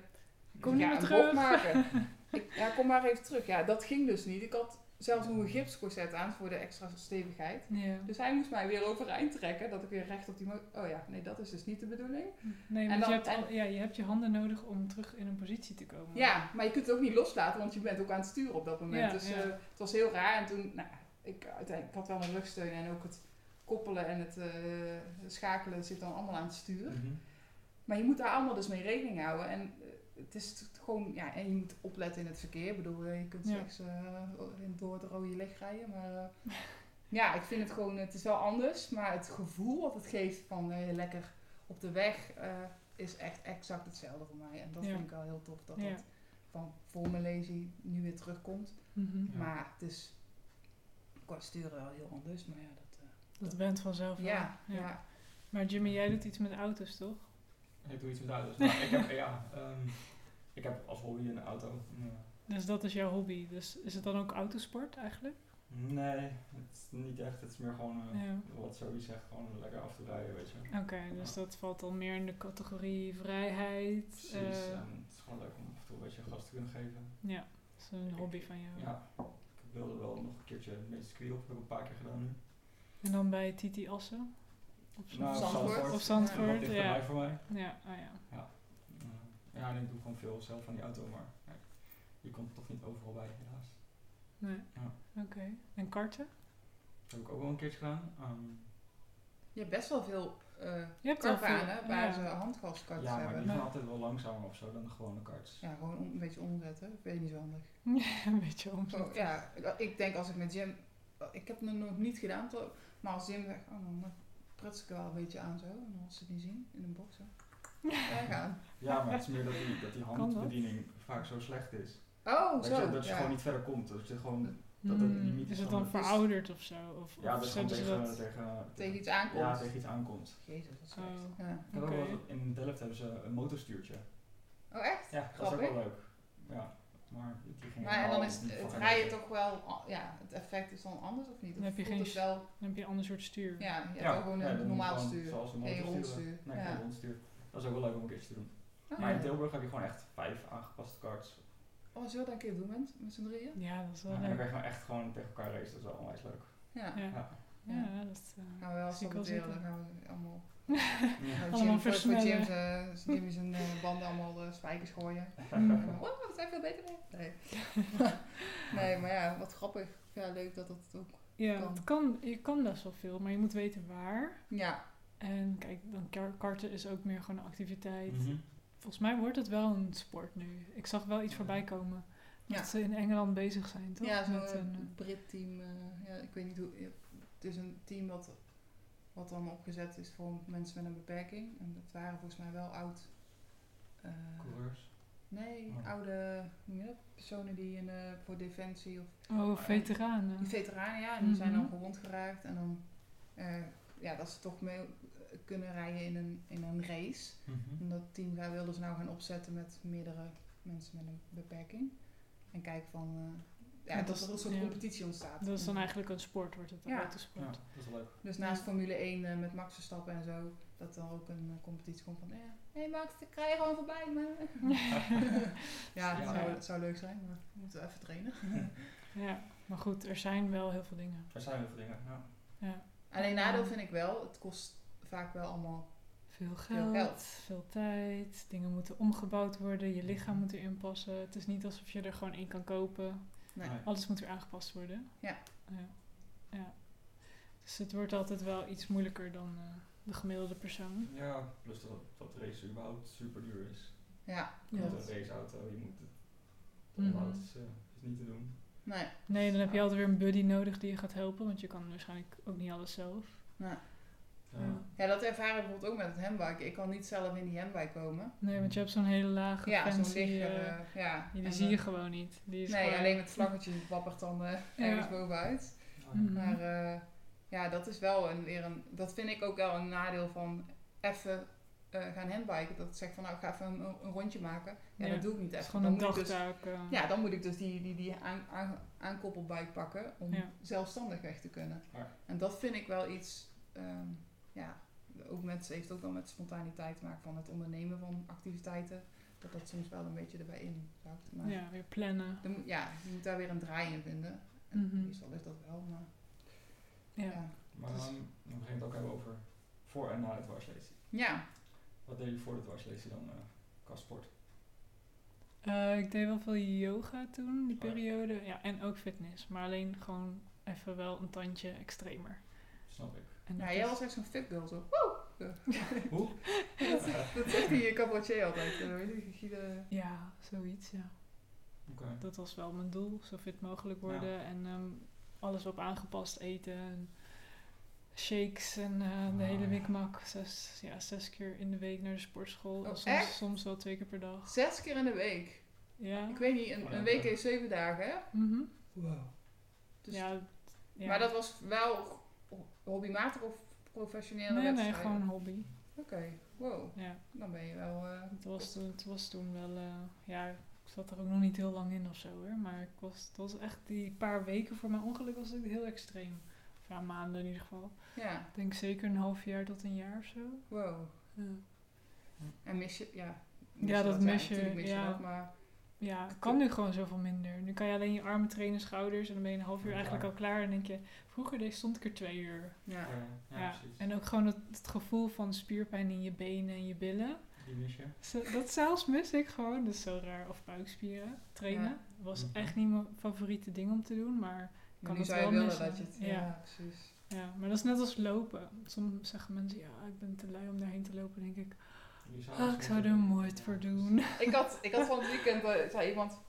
Kom niet ja, meer een terug. bocht maken. ik, ja, kom maar even terug. Ja, dat ging dus niet. Ik had zelfs nog een gipscorset aan voor de extra stevigheid. Ja. Dus hij moest mij weer overeind trekken, dat ik weer recht op die mo- Oh ja, nee, dat is dus niet de bedoeling. Nee, En want je, dan- hebt al- en- ja, je hebt je handen nodig om terug in een positie te komen. Ja, maar je kunt het ook niet loslaten, want je bent ook aan het sturen op dat moment. Ja, dus ja. eh, het was heel raar. En toen, nou, ik, uiteindelijk, ik had wel een rugsteun en ook het koppelen en het eh, schakelen zit dan allemaal aan het stuur. Mhm. Maar je moet daar allemaal dus mee rekening houden. En eh, het is t- gewoon, ja, en je moet opletten in het verkeer. Ik bedoel, eh, je kunt Ja. slechts eh, in- door het rode licht rijden. Maar eh, ja, ik vind het gewoon, het is wel anders. Maar het gevoel wat het geeft van eh, lekker op de weg eh, is echt exact hetzelfde voor mij. En dat Ja. vind ik wel heel tof dat Ja. dat van voor mijn lazy nu weer terugkomt. Mhm. Ja. Maar het is qua sturen wel heel anders. Maar ja, dat, eh, Dat bent vanzelf wel. ja, ja. Maar Jimmy, jij doet iets met auto's, toch? Nou, Ik doe iets met auto's. Maar ik heb, ja, ehm, Ik heb als hobby een auto. Ja. Dus dat is jouw hobby. Dus is het dan ook autosport eigenlijk? Nee, het is niet echt. Het is meer gewoon eh, Ja. wat Zoe zegt, gewoon lekker af te rijden, weet je. Oké, dus dat valt dan meer in de categorie vrijheid. Precies. eh, en het is gewoon leuk om af en toe een beetje gas te kunnen geven. ja, dat is een hobby van jou. Ja, ik wilde wel nog een keertje een beetje circuit op. Heb ik een paar keer gedaan nu. En dan bij Titi Assen? Of zo? Nou, Zandvoort. Of En wat Zandvoort, dichterbij ja. voor mij. Ja, ah ja. Eh, ja, en ik doe gewoon veel zelf van die auto, maar ja, je komt toch niet overal bij, helaas. Nee. Ja. Oké. En karten? Dat heb ik ook wel een keertje gedaan. Ehm, Je hebt best wel veel eh Je hebt wel kartbanen veel, waar ja. ze handgaskarts ja, maar hebben. die gaan Nee. altijd wel langzamer of zo dan de gewone karts. Ja, gewoon om- een beetje omzetten. Ik weet niet zo handig. een beetje omzet. Zo, ja, ik denk als ik met Jim... Ik heb het nog niet gedaan, to- maar als Jim zegt, oh, dan pruts ik er wel een beetje aan zo. En dan ze het niet zien in een box. Zo. Daar gaan. Ja, maar het is meer dat die, dat die dat? handbediening vaak zo slecht is. Oh, Dat je, zo. dat je ja. gewoon niet verder komt. Dat je gewoon, dat het Hmm, niet is zo het dan is. verouderd of zo? Of, ja, of dat je gewoon zetten ze tegen, dat... tegen, Tegen iets aankomt. ja, tegen iets aankomt. Jezus, wat slecht. Oh. Ja. Ik heb ook Oké. wel eens- in Delft hebben ze een motorstuurtje. Oh, echt? Ja, dat is ook Grappig. wel leuk. Ja, maar die ging Maar en helemaal Nou dan is het, nou, niet van het geen rijden motor. toch wel... Ja, het effect is dan anders of niet? Of Dan heb je voelt geen het s- wel... Dan heb je een ander soort stuur. Ja, je hebt Ja, wel gewoon ja, een dan normaal gewoon stuur. Zoals een Geen motorstuur. rondstuur. Nee, ja. geen rondstuur. Dat is ook wel leuk om een keertje te doen. Oh, Maar in ja. Tilburg heb je gewoon echt vijf aangepaste karts. Oh, zullen we dat een keer doen met, met z'n drieën? Ja, dat is wel en dan leuk. kan je gewoon echt gewoon tegen elkaar racen. Dat is wel onwijs leuk. Ja. Ja. Ja. Ja, dat is... eh, Gaan we wel Zie ik wel saboteren, dan zitten. gaan we allemaal... Ja. Allemaal Jim- voor- versnellen. Voor Jim zijn- Jimmy zijn eh, banden allemaal eh, spijkers gooien. en hmm. dan, oh, dat zijn veel beter mee. Nee. nee, maar ja, wat grappig. Ja, leuk dat dat ook... Ja, Kan. het kan, je kan best wel veel, maar je moet weten waar. Ja, En kijk, dan kar- karten is ook meer gewoon een activiteit. Mhm. Volgens mij wordt het wel een sport nu. Ik zag wel iets voorbij komen. Dat Ja. ze in Engeland bezig zijn, toch? ja Met een, zo'n eh, Brit-team. eh, ja, ik weet niet hoe... Het is een team wat, wat dan opgezet is voor mensen met een beperking. En dat waren volgens mij wel oud... eh, Coureurs. Nee, Oh. oude hoe noem je dat? personen die in, eh, voor defensie of oh, veteranen. eh, die veteranen, ja, en die zijn dan Mhm. gewond geraakt. En dan, eh, ja, dat ze toch mee eh, kunnen rijden in een, in een race. Mhm. En dat team daar wilden ze nou gaan opzetten met meerdere mensen met een beperking. En kijken van, eh, ja, Ja, dat dat- er een soort ja. competitie ontstaat. Dat is dan eigenlijk een sport, wordt het Mhm. een Ja. Ja, autosport. dat is wel leuk. Dus naast Formule 1 eh, met Max Verstappen en zo, dat er ook een eh, competitie komt van, hé hey Max, ik rij gewoon voorbij me. ja, dat Ja. zou, dat zou leuk zijn, maar we moeten even trainen. Ja. maar goed, er zijn wel heel veel dingen. Er zijn heel veel dingen. Ja. Ja. Alleen nadeel vind ik wel, het kost vaak wel allemaal, Veel Veel geld, geld. veel tijd, dingen moeten omgebouwd worden, je lichaam moet erin passen. Het is niet alsof je er gewoon in kan kopen. nee. Nee. Alles moet weer aangepast worden. Ja. ja. Ja. Dus het wordt altijd wel iets moeilijker dan eh, de gemiddelde persoon. Ja, plus dat, dat racen überhaupt super duur is. ja. Je Ja. moet een raceauto, je moet het het Mhm. onderhoud is, eh, is niet te doen. Nee, Nee, dan heb je altijd weer een buddy nodig die je gaat helpen, want je kan waarschijnlijk ook niet alles zelf. Ja. Ja. ja, dat ervaren we bijvoorbeeld ook met het handbike. Ik kan niet zelf in die handbike komen. Nee, want je hebt zo'n hele lage Ja, zo'n fancy, lichter. eh, eh, ja. die En, zie je eh, gewoon niet. Die is Nee, gewoon- alleen met vlaggetjes wappert dan eh, Ja. ergens bovenuit. Mhm. Maar eh, ja, dat is wel een, weer een... Dat vind ik ook wel een nadeel van even eh, gaan handbiken. Dat ik zeg van, nou, ik ga even een, een rondje maken. Ja, Ja, dat doe ik niet het is echt. gewoon Dan een moet ik dus- dagtaak. eh. Ja, dan moet ik dus die, die, die aan, aan, aankoppelbike pakken om Ja. zelfstandig weg te kunnen. Ja. En dat vind ik wel iets, ehm, ja, ook met, het heeft ook wel met spontaniteit te maken van het ondernemen van activiteiten. Dat dat soms wel een beetje erbij in zakt. Maar Ja, weer plannen. dan moet- ja, je moet daar weer een draai in vinden. En Mhm. meestal is dat wel, maar ja. Ja. Ja, Maar Dus- dan dan ging het ook hebben over voor en na de dwarslesie. Wat deed je voor de dwarslesie dan eh qua sport? Eh, ik deed wel veel yoga toen, die Oh ja. periode. Ja, en ook fitness. Maar alleen gewoon even wel een tandje extremer. Snap ik. En Ja, nou, dat jij is- was echt zo'n fit girl zo. Woe! Hoe? dat, dat zegt die cabaretier altijd. eh, Weet je, Guido- Ja, zoiets, ja. Oké. Dat was wel mijn doel. Zo fit mogelijk worden en ehm, alles op aangepast eten. En shakes en eh, de Ah, hele ja. mikmak. Zes, ja, zes keer in de week naar de sportschool. Oh, en soms, echt? soms wel twee keer per dag. Zes keer in de week. Ja. Ik weet niet, Oh, een, een week heeft zeven dagen, hè? Mhm. Wow. Dus ja, d- ja. Maar dat was wel hobbymatig of professionele Nee, nee, wedstrijden? gewoon hobby. Oké. Wow, Ja, dan ben je wel... eh, het was toen, het was toen wel... eh, ja, ik zat er ook nog niet heel lang in of zo hoor. Maar ik was, het was echt die paar weken voor mijn ongeluk was het heel extreem. Of ja, maanden in ieder geval. ja, Ik denk zeker een half jaar tot een jaar of zo. wow. Ja. En mis je... Ja, Ja, dat mis je, natuurlijk mis je ja. dat, maar... Ja, het kan nu gewoon zoveel minder. Nu kan je alleen je armen trainen, schouders en dan ben je een half uur eigenlijk al klaar. En denk je, vroeger deed, stond ik er twee uur. Ja, Ja, ja, ja, precies. En ook gewoon het, het gevoel van spierpijn in je benen en je billen. Die mis je. Zo- Dat zelfs mis ik gewoon. Dat is zo raar. Of buikspieren trainen. Was Mhm. echt niet mijn favoriete ding om te doen. Maar Kan nu het zou je wel willen missen. dat je het... Ja, Ja. precies. ja, maar dat is net als lopen. Soms zeggen mensen, ja, ik ben te lui om daarheen te lopen. Dan denk ik, Die zou ah, ik zou er nooit voor doen. ik, had, ik had van het weekend, eh, zei iemand...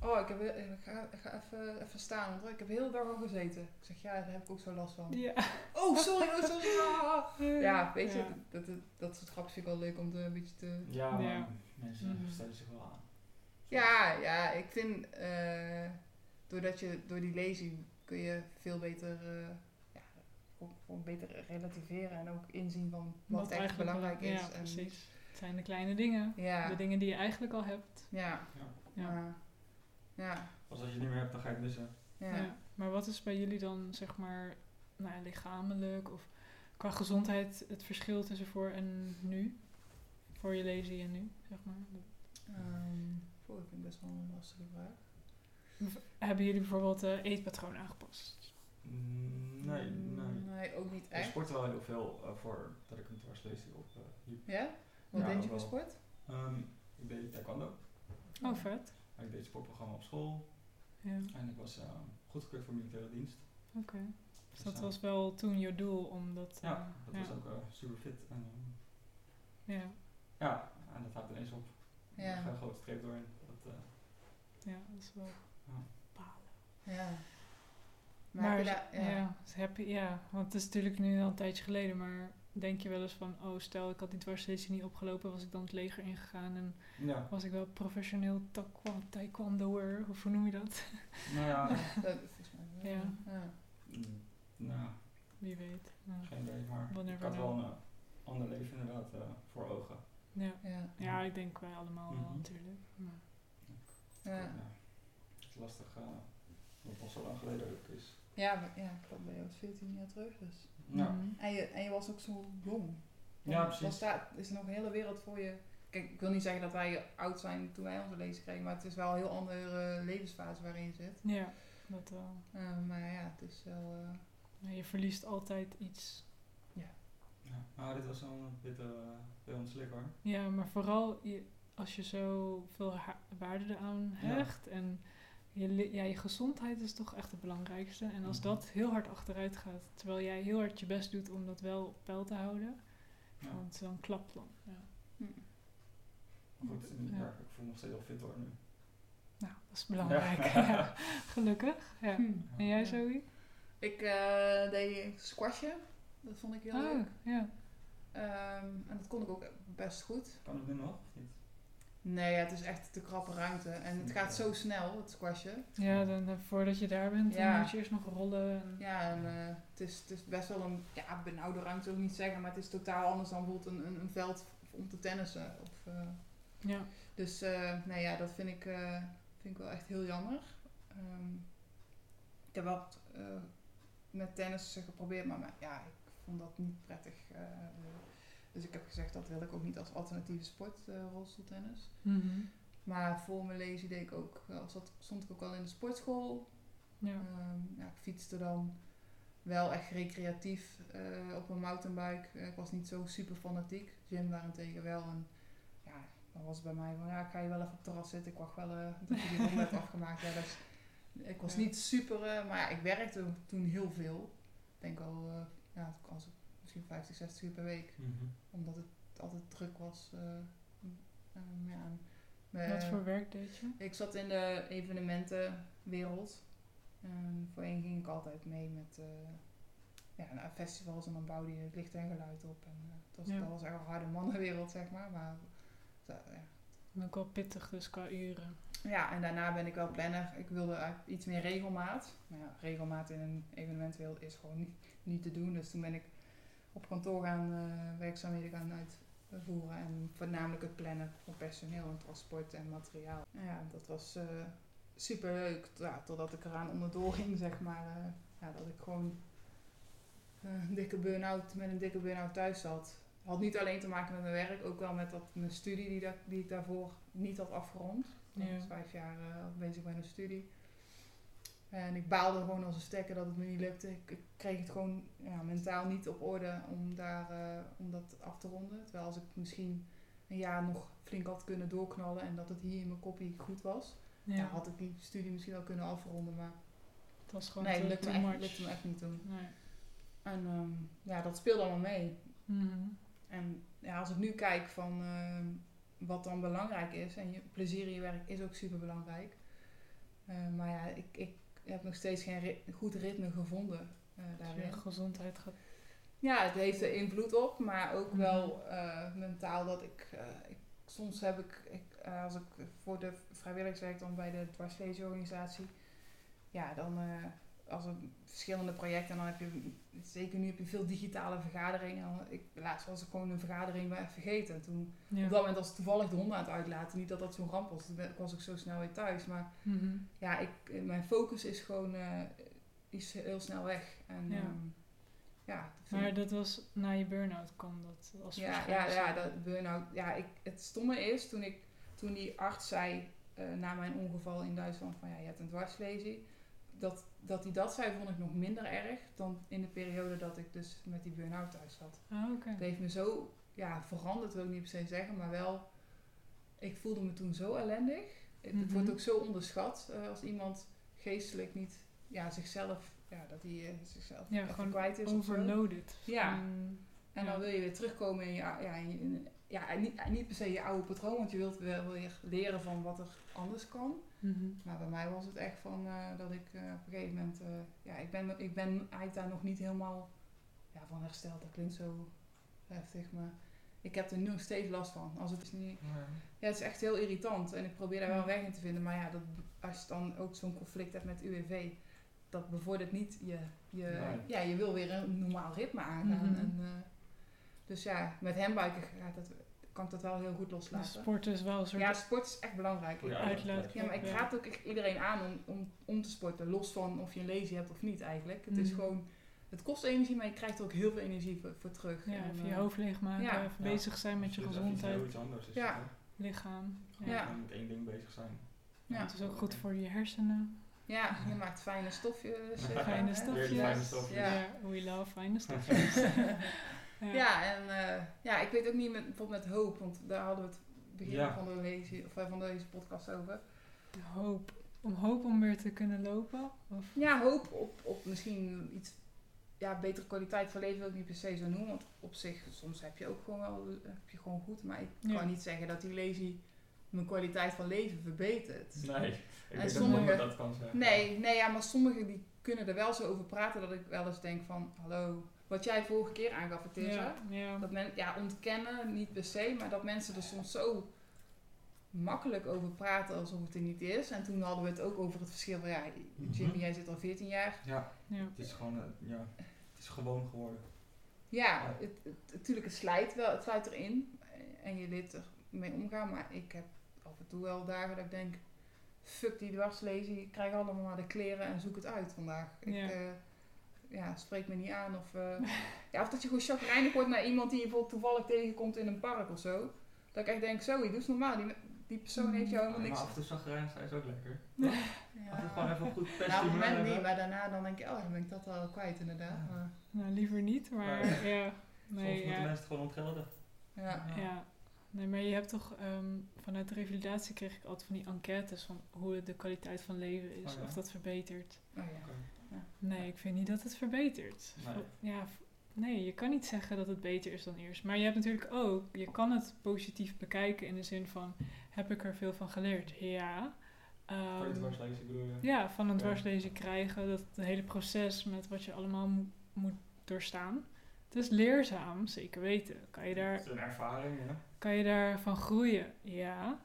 Oh, ik, heb, eh, ik ga, ik ga even, even staan, want ik heb heel de dag al gezeten. Ik zeg, ja, daar heb ik ook zo last van. Ja, Oh, sorry, oh, sorry. ah. Ja, weet je, dat, dat, dat soort grapjes vind ik wel leuk om te, een beetje te... Ja, maar Ja. mensen Mhm. stellen zich wel aan. Ja, ja, ik vind... eh, doordat je, door die lezing kun je veel beter... eh, ja, ook gewoon beter relativeren en ook inzien van wat, eigenlijk belangrijk wel- is. Ja, en- precies. Het zijn de kleine dingen. De Ja, dingen die je eigenlijk al hebt. ja, Ja. Ja. maar- ja, Als dat je het niet meer hebt, dan ga je het missen. ja. Ja. Maar wat is bij jullie dan, zeg maar, nou ja, lichamelijk of qua gezondheid het verschil tussen voor en nu? Voor je lazy en nu, zeg maar. Ehm, oh, ik vind het best wel een lastige vraag. Hebben jullie bijvoorbeeld eh eetpatroon aangepast? Mm, Nee, nee. Nee, ook niet Ik echt. sport wel heel veel eh, voor dat ik een dwarslesie op eh, liep. Ja? Wat Ja, deed je wel. voor sport? Ehm, ik deed taekwondo. Oh, vet. Ik deed sportprogramma op school. Ja, En ik was eh, goedgekeurd voor militaire dienst. oké. Dus dat eh, was wel toen je doel, omdat... eh, Ja, dat ja. was ook eh, super fit. En, ehm, Ja, ja, en dat houdt ineens op. Ja. Er gaat een grote streep doorheen. Dat, eh, ja, dat is wel... Ja. balen. Ja. Maar, Maar, heb je daar- ja. ja. dus heb je- ja, want het is natuurlijk nu al een tijdje geleden, maar denk je wel eens van, oh stel ik had die dwarslesie niet opgelopen, was ik dan het leger ingegaan en ja, was ik wel professioneel taekwa- taekwondoer, of hoe noem je dat? nou ja, Dat, volgens mij wel. Ja. Ja. mm, nou, Wie weet. Ja, geen idee. Maar Wanneer ik had we wel nou- een eh, ander leven inderdaad eh, voor ogen. ja. Ja. Ja, ik denk wij allemaal wel Mhm. natuurlijk. Maar, Ja. Het is lastig, eh dat was zo lang geleden ook is. Nou, Ja, maar, ja, ik kwam bij jou 14 jaar terug dus. Ja, Mhm. En je, en je was ook zo jong. Ja, Dan- Dan precies. staat, is er nog een hele wereld voor je. Kijk, ik wil niet zeggen dat wij oud zijn toen wij onze lezen kregen, maar het is wel een heel andere levensfase waarin je zit. Ja, dat wel. Eh, maar ja, het is wel... eh, Ja, Je verliest altijd iets. ja. Maar dit was zo'n witte uh, bij ons slik hoor. Ja, maar vooral je, als je zo veel ha- waarde eraan Ja. hecht en je, li- ja, je gezondheid is toch echt het belangrijkste. En als Mhm. dat heel hard achteruit gaat, terwijl jij heel hard je best doet om dat wel op peil te houden, Ja. Oh. want dan klapt dan. Ja. Maar goed, in Ja. ja. ik voel me nog steeds wel fit hoor nu. Nou, dat is belangrijk. Ja. Gelukkig. Ja. hm. En jij, Zoe? Ik eh, deed squashen. Dat vond ik heel leuk. Oh, ja. Ehm, en dat kon ik ook best goed. Kan het nu nog? of Niet? Nee, ja, het is echt te krappe ruimte. En het gaat zo snel, het squashen. Ja, dan eh, voordat je daar bent, Ja. dan moet je eerst nog rollen. En, Ja, en eh, het, is, het is best wel een ja, benauwde ruimte, wil ik niet zeggen. Maar het is totaal anders dan bijvoorbeeld een, een, een veld om te tennissen. Of, eh, ja. dus eh, nee, ja, dat vind ik, eh, vind ik wel echt heel jammer. Ehm, ik heb wel eh, met tennis geprobeerd, maar, maar ja, ik vond dat niet prettig. eh, dus ik heb gezegd, dat wil ik ook niet als alternatieve sport, eh rolstoeltennis. Mhm. Maar voor mijn lezen deed ik ook, als dat stond ik ook al in de sportschool. ja. Ehm, ja, ik fietste dan wel echt recreatief eh, op een mountainbike. Eh, ik was niet zo super fanatiek. Jim daarentegen wel. En ja, dan was het bij mij van ja, ik ga je wel even op het terras zitten. Ik wacht wel eh, dat je die ronde hebt afgemaakt. Ja, dus, ik was Ja. niet super, eh, maar ja, ik werkte toen heel veel. Ik denk al, eh ja, het was misschien 50, 60 uur per week. Omdat het altijd druk was. eh, ehm, ja, en, eh, Wat voor werk deed je? ik zat in de evenementenwereld. En voorheen ging ik altijd mee met eh, ja, naar festivals en dan bouwde je het licht en geluid op. En, eh, dat, was, Ja. dat was echt een harde mannenwereld, zeg maar. maar eh, dat- ja. En Ook wel pittig dus qua uren. Ja, en daarna ben ik wel planner. Ik wilde eigenlijk iets meer regelmaat. Maar ja, regelmaat in een evenementwereld is gewoon niet, niet te doen. Dus toen ben ik op kantoor gaan eh, werkzaamheden gaan uit, eh, voeren. En voornamelijk het plannen van personeel en transport en materiaal. Nou Ja, dat was eh superleuk. Ja, totdat ik eraan onderdoor ging, zeg maar. eh, ja, dat ik gewoon eh, een dikke burn-out, met een dikke burn-out thuis zat. Had niet alleen te maken met mijn werk, ook wel met dat, mijn studie die, dat, die ik daarvoor niet had afgerond. Ik Ja. was vijf jaar eh, bezig met een studie. En ik baalde gewoon als een stekker dat het me niet lukte. Ik, ik kreeg het gewoon ja, mentaal niet op orde om, daar, eh, om dat af te ronden. Terwijl als ik misschien een jaar nog flink had kunnen doorknallen en dat het hier in mijn koppie goed was, Ja. dan had ik die studie misschien wel kunnen afronden. Maar Het was gewoon nee, te- het lukte too me, echt, much. lukte me echt niet toen. Nee. En ehm, ja, dat speelde allemaal mee. Mhm. En ja, als ik nu kijk van ehm, wat dan belangrijk is, en je plezier in je werk is ook super belangrijk. maar ja, ik, ik heb nog steeds geen ri- goed ritme gevonden eh, Dus daarin. je gezondheid gaat... Ja, het heeft er invloed op, maar ook Mhm. wel eh, mentaal dat ik, eh, ik- Soms heb ik, ik eh, als ik voor de vrijwilligers werk dan bij de dwarsleesorganisatie, ja, dan eh, als er verschillende projecten, en dan heb je, zeker nu heb je veel digitale vergaderingen. Dan- Ik, laatst was ik gewoon een vergadering maar even vergeten. Toen, Ja. Op dat moment was ik toevallig de honden aan het uitlaten. Niet dat dat zo'n ramp was, toen ben- was ik zo snel weer thuis. Maar Mhm. ja, ik, mijn focus is gewoon eh, is heel snel weg. En, Ja. ja. ja, dat vind ik- Maar dat was na je burn-out kwam dat als ja, ja, verschijnsel. ja, dat burn-out. Ja, ik, het stomme is, toen, ik, toen die arts zei eh, na mijn ongeval in Duitsland van ja, je hebt een dwarslesie. Dat, dat hij dat zei, vond ik nog minder erg dan in de periode dat ik dus met die burn-out thuis zat. Ah, oké. Het heeft me zo ja, veranderd, wil ik niet per se zeggen, maar wel, ik voelde me toen zo ellendig. Het, het Mhm. wordt ook zo onderschat eh, als iemand geestelijk niet ja, zichzelf, ja, dat hij eh, zichzelf Ja, even gewoon kwijt is. of zo. Overloaded. Ja. Van- En Ja. dan wil je weer terugkomen in je, ou- ja, in je- in- ja, en niet, en niet per se je oude patroon, want je wilt wel weer leren van wat er anders kan. Mhm. Maar bij mij was het echt van eh, dat ik eh, op een gegeven moment, eh, ja, ik ben, ik ben eigenlijk daar nog niet helemaal ja, van hersteld. Dat klinkt zo heftig, maar ik heb er nog steeds last van. Als het is niet, ja, het is echt heel irritant en ik probeer daar wel een weg in te vinden. Maar ja, dat, als je dan ook zo'n conflict hebt met UWV, dat bevordert niet je... je Nee. Ja, je wil weer een normaal ritme aangaan. Mhm. en, eh, dus ja, met hembuiken gaat dat, kan ik dat wel heel goed Dus loslaten. sport is wel een soort Ja, sport is echt belangrijk. Voor je Ja, uitlaat. uitlaatklep. maar ik raad ook echt iedereen aan om, om, om te sporten. Los van of je een lazy hebt of niet eigenlijk. Het is Mhm. gewoon... Het kost energie, maar je krijgt er ook heel veel energie voor, voor terug. Ja, En, even je eh, hoofd leegmaken, ja. even Ja. bezig zijn met je Dus dat is gezondheid, Heel iets anders is Ja. het, hè? lichaam. Ja. Gewoon gewoon met één ding bezig zijn. Ja. Het is ook goed voor je hersenen. Ja, je maakt fijne stofjes. eh, Fijne hè? stofjes. Weer fijne stofjes. Ja. we love fijne stofjes. ja. Ja, en eh, ja, ik weet ook niet met, bijvoorbeeld met hoop, want daar hadden we het begin Ja. van, de lezing, of, eh, van deze podcast over. De hoop. Om hoop om weer te kunnen lopen. Of, Ja, hoop op, op misschien iets ja, betere kwaliteit van leven wil ik niet per se zo noemen, want op zich, soms heb je ook gewoon wel heb je gewoon goed, maar ik Ja. kan niet zeggen dat die lazy mijn kwaliteit van leven verbetert. Nee, ik denk sommige- dat niemand dat kan zeggen. Nee, nee ja, maar sommigen die kunnen er wel zo over praten dat ik wel eens denk van, hallo, wat jij vorige keer aangaf, Tessa, ja, ja. Dat men, ja, ontkennen, niet per se, maar dat mensen er soms zo makkelijk over praten alsof het er niet is. En toen hadden we het ook over het verschil van, ja, Jimmy, Mhm. jij zit al 14 jaar. Ja, ja. het is gewoon, eh, ja, het is gewoon geworden. Ja, het, het, natuurlijk, het slijt wel, het slijt erin en je leert ermee omgaan. Maar ik heb af en toe wel dagen dat ik denk, fuck die dwarslezen, ik krijg allemaal maar de kleren en zoek het uit vandaag. Ja. Ik, eh, ja, spreek me niet aan. Of, eh, ja, of dat je gewoon chagrijnig wordt naar iemand die je bijvoorbeeld toevallig tegenkomt in een park of zo. Dat ik echt denk, zo, je doet normaal. Die, die persoon heeft jou Ja, helemaal Mm, maar niks. af en toe zagrijnig zijn is ook lekker. Af en toe gewoon Ja. even een goed pestje Nou, op het humeur moment niet, hebben. maar daarna dan denk ik, oh, dan ben ik dat wel kwijt inderdaad. Maar, Nou, liever niet, maar Maar- ja. Soms Nee, moeten ja. mensen het gewoon ontgelden. ja. Ja, nee, maar je hebt toch ehm, vanuit de revalidatie kreeg ik altijd van die enquêtes van hoe de kwaliteit van leven is, Oh ja. of dat verbetert. Oh, ja. Nee, ik vind niet dat het verbetert. Nee. Ja, v- nee, je kan niet zeggen dat het beter is dan eerst. Maar je hebt natuurlijk ook, je kan het positief bekijken in de zin van, heb ik er veel van geleerd? Ja. Ehm, Voor je dwarslezen bedoel je? ja, van een Ja. dwarslezen krijgen, dat het hele proces met wat je allemaal mo- moet doorstaan. Het is leerzaam, zeker weten. Kan je daar Het is een ervaring, ja. kan je daarvan groeien? Ja.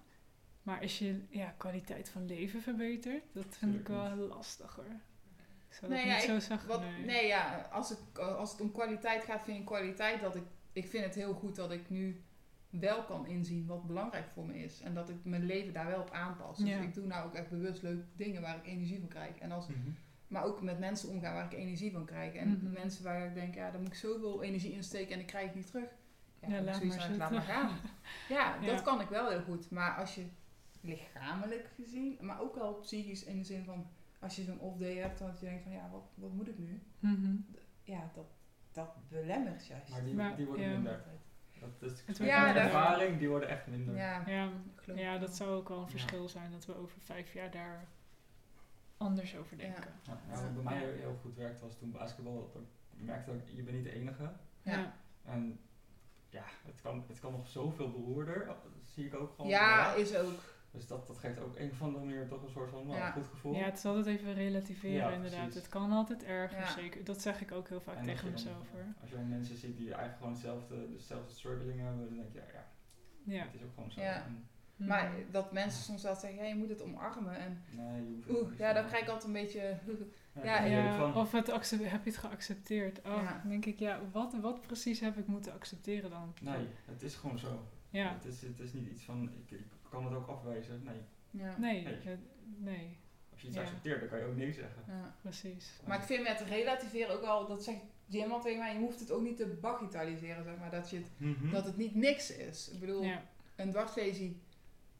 Maar is je ja, kwaliteit van leven verbeterd? Dat vind ik Tuurlijk wel lastiger. Ik zou Nee, dat Nou ja, niet zo ik- zeggen. Wat, nee. nee. ja, als, ik, als het om kwaliteit gaat, vind ik kwaliteit dat ik... Ik vind het heel goed dat ik nu wel kan inzien wat belangrijk voor me is. En dat ik mijn leven daar wel op aanpas. Dus Ja. ik doe nou ook echt bewust leuke dingen waar ik energie van krijg. En als, Mhm. maar ook met mensen omgaan waar ik energie van krijg. En Mhm. mensen waar ik denk, ja, daar moet ik zoveel energie in steken en ik krijg het niet terug. Ja, Ja, dan laat heb ik maar zoiets van, laat maar gaan. Ja, Ja. dat kan ik wel heel goed. Maar als je lichamelijk gezien, maar ook wel psychisch in de zin van... Als je zo'n off-day hebt, dat je denkt van, ja, wat, wat moet ik nu? Mhm. Ja, dat, dat belemmert juist. Maar die, Maar, die worden ja. minder. Dat is Het van wordt de minder. ervaring, die worden echt minder. Ja, Ja, geloof ja, ik dat wel. zou ook wel een Ja. verschil zijn dat we over vijf jaar daar anders over Ja. denken. Ja, ja, wat bij mij heel goed werkte was toen basketbal. Dat ik merkte dat ik- je bent niet de enige. Ja. Ja. En ja, het kan, het kan nog zoveel beroerder. Dat zie ik ook gewoon. Ja, is ook. Dus dat, dat geeft ook een of andere manier toch een soort van nou, Ja. goed gevoel. Ja, het is altijd even relativeren Ja, inderdaad. precies. Het kan altijd erger, Ja. zeker. Dat zeg ik ook heel vaak En als tegen je dan- mezelf hoor. Als je dan mensen ziet die eigenlijk gewoon hetzelfde, dezelfde struggling hebben, dan denk je, ja, ja, Ja. het is ook gewoon zo. Ja. En, Mhm. Maar dat mensen soms wel zeggen, ja, je moet het omarmen. En nee, je hoeft het oeh, niet ja, zo- dan krijg ik altijd een beetje... daar ja, ben je Ja, ook van. of het accept- heb je het geaccepteerd? Oh, Ja. dan denk ik, ja, wat, wat precies heb ik moeten accepteren dan? Nee, het is gewoon zo. Ja, Het, is, het is niet iets van, ik, ik kan het ook afwijzen. Nee, Ja. nee, Nee. het- nee, als je iets Ja. accepteert, dan kan je ook nee zeggen. Ja. precies. Maar ik vind met relativeren ook wel, dat zegt Jim al tegen mij, je hoeft het ook niet te bagitaliseren, zeg maar. Dat, je het, Mhm. dat het niet niks is. Ik bedoel, Ja, een dwarslesie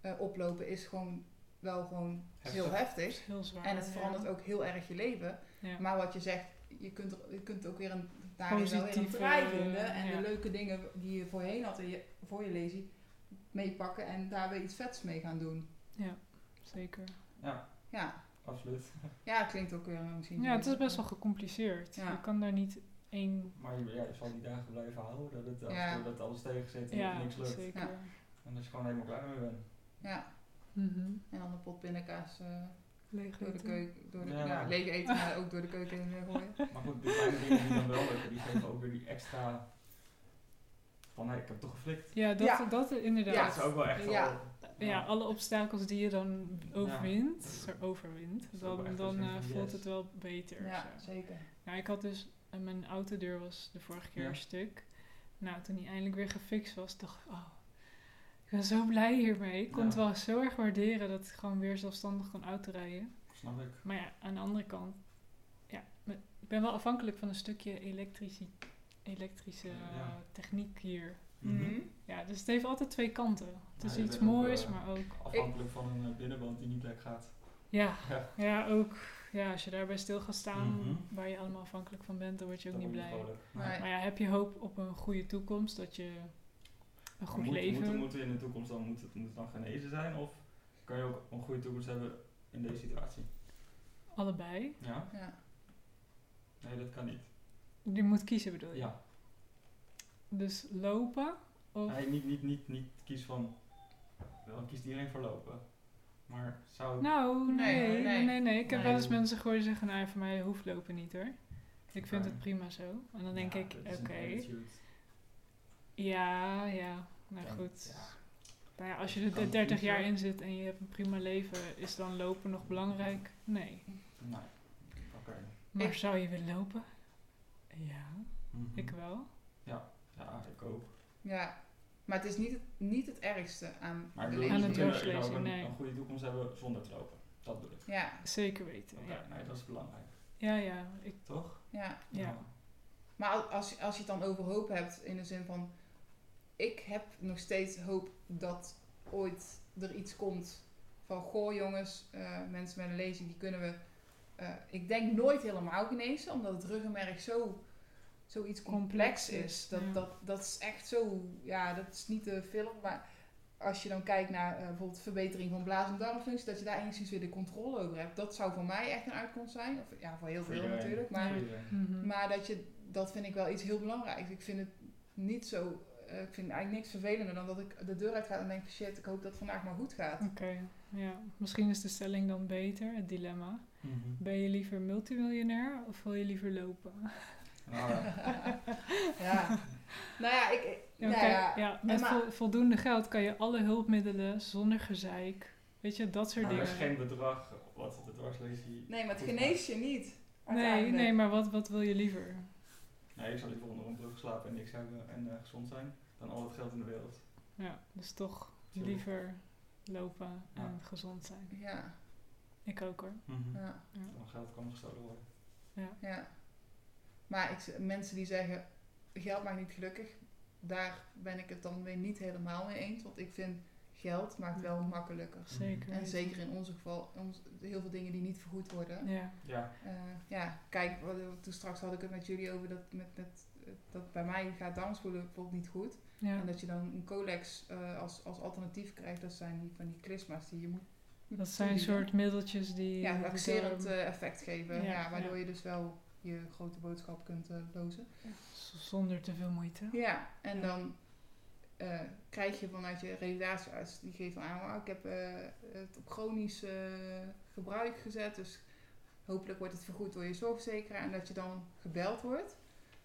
eh, oplopen is gewoon wel gewoon Heftig. heel het is heftig. heel zwaar. En het ja. verandert ook heel erg je leven. Ja. Maar wat je zegt, je kunt, er, je kunt ook weer een, daarin wel weer een Positieve, draai vinden. En eh, ja. de leuke dingen die je voorheen had en je, voor je lesie meepakken en daar weer iets vets mee gaan doen. Ja, zeker. Ja, Ja, absoluut. ja klinkt ook weer eh, misschien... Ja, het is best wel gecompliceerd. Ja. Je kan daar niet één... Maar je, ja, je zal die dagen blijven houden, dat, het, Ja. dat, alles tegen zit en Ja, niks lukt. zeker. Ja. En dat je gewoon helemaal klaar mee bent. Ja, Mhm. en dan een pot pindakaas... eh, Leeg Door de eten. keuken, door de, ja. Ja. leeg eten, maar ook door de keuken heen eh, gooien. Maar goed, die kleine dingen die dan wel lukken, die geven ook weer die extra van, hé, ik heb toch geflikt. Ja, dat, Ja. dat inderdaad. Ja. Dat is ook wel echt Ja. al... Ja, alle obstakels die je dan overwint, er overwint, Dat is ook wel dan, echt dan een eh, soort van voelt yes. het wel beter. Ja, of zo. zeker. Nou, ik had dus, eh, mijn autodeur was de vorige keer Ja. een stuk. Nou, toen die eindelijk weer gefixt was, dacht ik, oh, ik ben zo blij hiermee. Ik kon Ja. het wel zo erg waarderen dat ik gewoon weer zelfstandig kon autorijden. Snap ik. Maar ja, aan de andere kant, ja, me- ik ben wel afhankelijk van een stukje elektrici- elektrische eh, Ja. techniek hier. Mhm. Ja, dus het heeft altijd twee kanten. Het is Ja, je iets bent ook, moois, eh, maar ook... Afhankelijk van een eh, binnenband die niet lek gaat. Ja, Ja. ja, ook. Ja, als je daarbij stil gaat staan, Mhm. waar je allemaal afhankelijk van bent, dan word je ook Dan niet word je blij. vrolijk. Nee. Maar Maar ja, heb je hoop op een goede toekomst, dat je een goed moet- leven... Moet, moet in de toekomst dan, moet het, moet het dan genezen zijn? Of kan je ook een goede toekomst hebben in deze situatie? Allebei. Ja? Ja. Nee, dat kan niet. Eh, Je moet kiezen, bedoel je? Ja. Dus lopen of... Nee, niet, niet, niet, niet kies van... Wel, kiest iedereen voor lopen. Maar zou... Nou, nee, nee, Nee, nee. nee. nee, Ik heb Nee. wel eens mensen gehoord die zeggen, nou, voor mij hoeft lopen niet hoor. Ik vind Oké. het prima zo. En dan denk Ja, ik, dat oké, is een attitude. ja, ja, nou Ja, goed. ja. Nou ja, als je Je er kan 30 kiezen. jaar in zit en je hebt een prima leven, is dan lopen nog belangrijk? Nee. Nee. Oké. Maar Ik- zou je willen lopen? Ja, Mhm. ik wel. Ja, ik ook. Ja, maar het is niet het, niet het ergste aan Maar ik de bedoel, Aan je het moet leeftijd. dorpsleven, inderdaad ook een, nee. een goede toekomst hebben zonder te lopen. Dat bedoel ik. Ja, Zeker weten. Oké, Ja, nee, dat is belangrijk. ja, ja, ik, Toch? ja. ja. Maar al- als, als je het dan over hoop hebt, in de zin van... Ik heb nog steeds hoop dat ooit er iets komt van... Goh jongens, eh, mensen met een lezing, die kunnen we... eh, ik denk nooit helemaal genezen, omdat het ruggenmerg zo... Zoiets complex, Complex is, is. Dat, ja. dat, dat is echt zo... Ja, dat is niet de film, maar... Als je dan kijkt naar eh, bijvoorbeeld verbetering van blaas- en darmfunctie... dat je daar enigszins weer de controle over hebt. Dat zou voor mij echt een uitkomst zijn. Of, ja, voor heel Voor veel iedereen. natuurlijk. Maar Voor iedereen. Mhm. maar dat, je, dat vind ik wel iets heel belangrijks. Ik vind het niet zo. eh, ik vind eigenlijk niks vervelender dan dat ik de deur uit ga en denk: shit, ik hoop dat het vandaag maar goed gaat. Oké, ja. Misschien is de stelling dan beter, het dilemma. Mhm. Ben je liever multimiljonair of wil je liever lopen? Nou, ja. ja. Nou ja, ik. ik- Ja, nou kijk, ja, ja, met maar- vo- voldoende geld kan je alle hulpmiddelen zonder gezeik. Weet je, dat soort Maar er dingen. is geen bedrag wat de dwarslesie... Nee, maar het goed geneest je niet. nee, uiteindelijk. nee, maar wat, wat wil je liever? maakt. Nee, ik zou liever onder een brug slapen en niks hebben en eh, gezond zijn dan al het geld in de wereld. Ja, dus toch Zo. liever lopen Ja. en gezond zijn. Ja, Ik ook hoor. ja, Dan gaat het allemaal gestolen worden. ja. Maar ik, mensen die zeggen, geld maakt niet gelukkig, daar ben ik het dan weer niet helemaal mee eens. Want ik vind, geld maakt wel Mhm. makkelijker. Zeker. En weten. zeker in ons geval, ons, heel veel dingen die niet vergoed worden. Ja, Ja, Eh, ja, kijk, wat- toen straks had ik het met jullie over dat, met, met, dat bij mij gaat downspoelen bijvoorbeeld niet goed. ja. En dat je dan een colex eh, als, als alternatief krijgt, dat zijn die, van die klisma's die je moet. dat zijn soort middeltjes die... Ja, die laxerend door- eh, effect geven. Ja, Ja, waardoor ja. je dus wel je grote boodschap kunt eh, lozen. z- zonder te veel moeite. Ja, en Ja. dan eh, krijg je vanuit je revalidatiearts, die geeft aan, "Nou, ik heb eh, het op chronisch eh, gebruik gezet, dus hopelijk wordt het vergoed door je zorgverzekeraar. En dat je dan gebeld wordt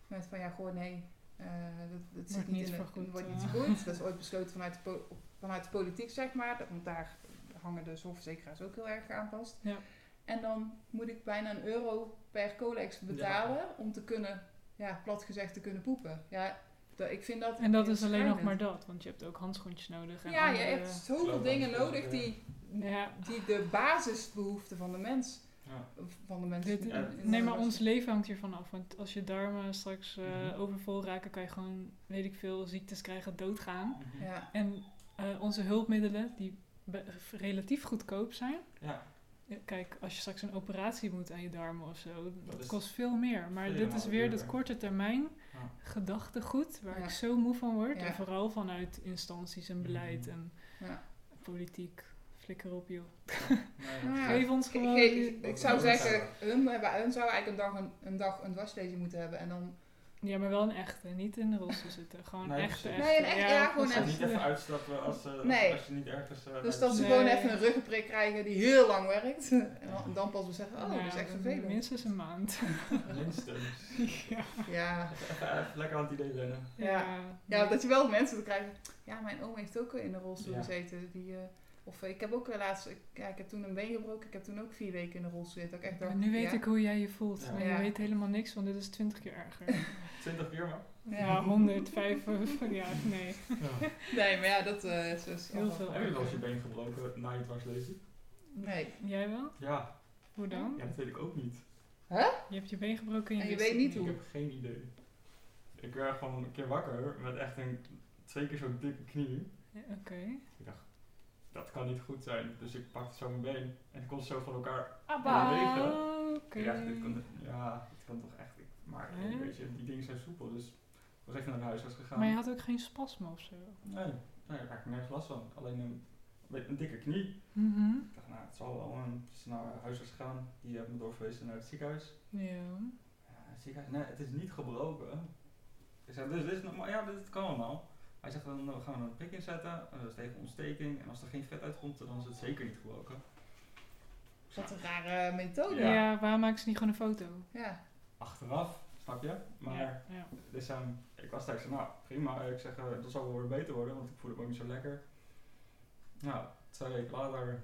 met van, ja, goh, nee, eh, dat, dat zit Wordt niet niet in de- vergoed, wordt eh. niet vergoed. Dat is ooit besloten vanuit de, po- vanuit de politiek, zeg maar, dat- want daar hangen de zorgverzekeraars ook heel erg aan vast. Ja. En dan moet ik bijna een euro per colex betalen om te kunnen, ja, plat gezegd, te kunnen poepen. Ja, dat, ik vind dat En dat heel is alleen nog maar schrijnend. dat, want je hebt ook handschoentjes nodig. En Ja, je andere- hebt zoveel Slow dingen dance, nodig ja. die, Ja. die de basisbehoeften van de mens... ja. Van de mens Dit, Ja. nee, maar ons leven hangt hiervan af. Want als je darmen straks eh, Mhm. overvol raken, kan je gewoon, weet ik veel, ziektes krijgen, doodgaan. Mhm. Ja, En eh, onze hulpmiddelen, die be- relatief goedkoop zijn. Ja. Ja, Kijk, als je straks een operatie moet aan je darmen of zo, dat, Dat is kost veel meer. Maar vele dit is malen weer dat duurder. korte termijn Ja. gedachtegoed waar Ja. ik zo moe van word. Ja. En vooral vanuit instanties Mhm. en beleid en Ja. politiek. Flikker op, joh. Nee, Nou ja. Geef ons Ik, gewoon... ik- die- ik zou Ja. zeggen, hun, hebben, hun zou eigenlijk een dag een, een, dag een dwarslezing moeten hebben. En dan, Ja, maar wel een echte. Niet in de rolstoel zitten. Gewoon Nee, echte, precies. echte. Nee, een echte- ja, gewoon Dus precies. echt. niet even uitstappen als, eh, Nee. als je niet ergens... eh, dus bij- dat ze Nee. gewoon even een ruggenprik krijgen die heel lang werkt. En dan, dan pas beseffen, oh, dat is Ja, echt vervelend. Minstens een maand. Minstens. ja. Ja. eh, Even lekker aan het idee wennen. Ja. Ja, dat je wel mensen te krijgen. Ja, mijn oom heeft ook in de rolstoel Ja. gezeten. Die, eh, of eh, ik heb ook eh, laatst, ik, ja, ik heb toen een been gebroken. Ik heb toen ook vier weken in de rolstoel gezeten. Dat ik echt dacht, En nu weet ja. ik hoe jij je voelt. Ja. Maar je Ja. weet helemaal niks, want dit is 20 keer erger. 20 keer maar. ja, eh. 105. ja, nee. Nee, maar ja, dat eh, is dus Heel allemaal- veel. Heb je wel eens je been gebroken na je dwarslezing? Nee. Jij wel? Ja. Hoe dan? ja, dat weet ik ook niet. Je hebt je been gebroken en je, En je wist weet het niet Ik hoe. heb geen idee. Ik werd gewoon een keer wakker met echt een twee keer zo'n dikke knie. Ja, Oké. Ik dacht, dat kan niet goed zijn. Dus ik pakte zo mijn been en ik kon ze zo van elkaar. Ah, Ja, weet Oké. Ik dacht, dit kan, ja, dit kan toch echt. ik- Maar Hè? een beetje, die dingen zijn soepel, dus ik was even naar de huisarts gegaan. Maar je had ook geen spasme of zo. Nee, nee, ik had nergens last van. Alleen een, weet- een dikke knie. Mhm. Ik dacht, nou, het zal wel. En ze is naar huisarts gegaan. Die hebben me doorverwezen naar het ziekenhuis. Ja. Ja, het ziekenhuis, nee, het is niet gebroken. Ik zei, dus dit is normaal. Ja, dit kan allemaal. Hij zegt, dan eh, gaan we er een prik in zetten. En dat is tegen ontsteking. En als er geen vet uitkomt, dan is het zeker niet gebroken. Wat een rare methode. Ja. Ja. waarom maken ze niet gewoon een foto? Ja. Achteraf, snap je? Maar, Ja, ja. dus, ehm, ik was daar, ik zei, nou, prima. Ik zeg, eh, dat zal wel weer beter worden, want ik voel het ook niet zo lekker. Nou, twee weken later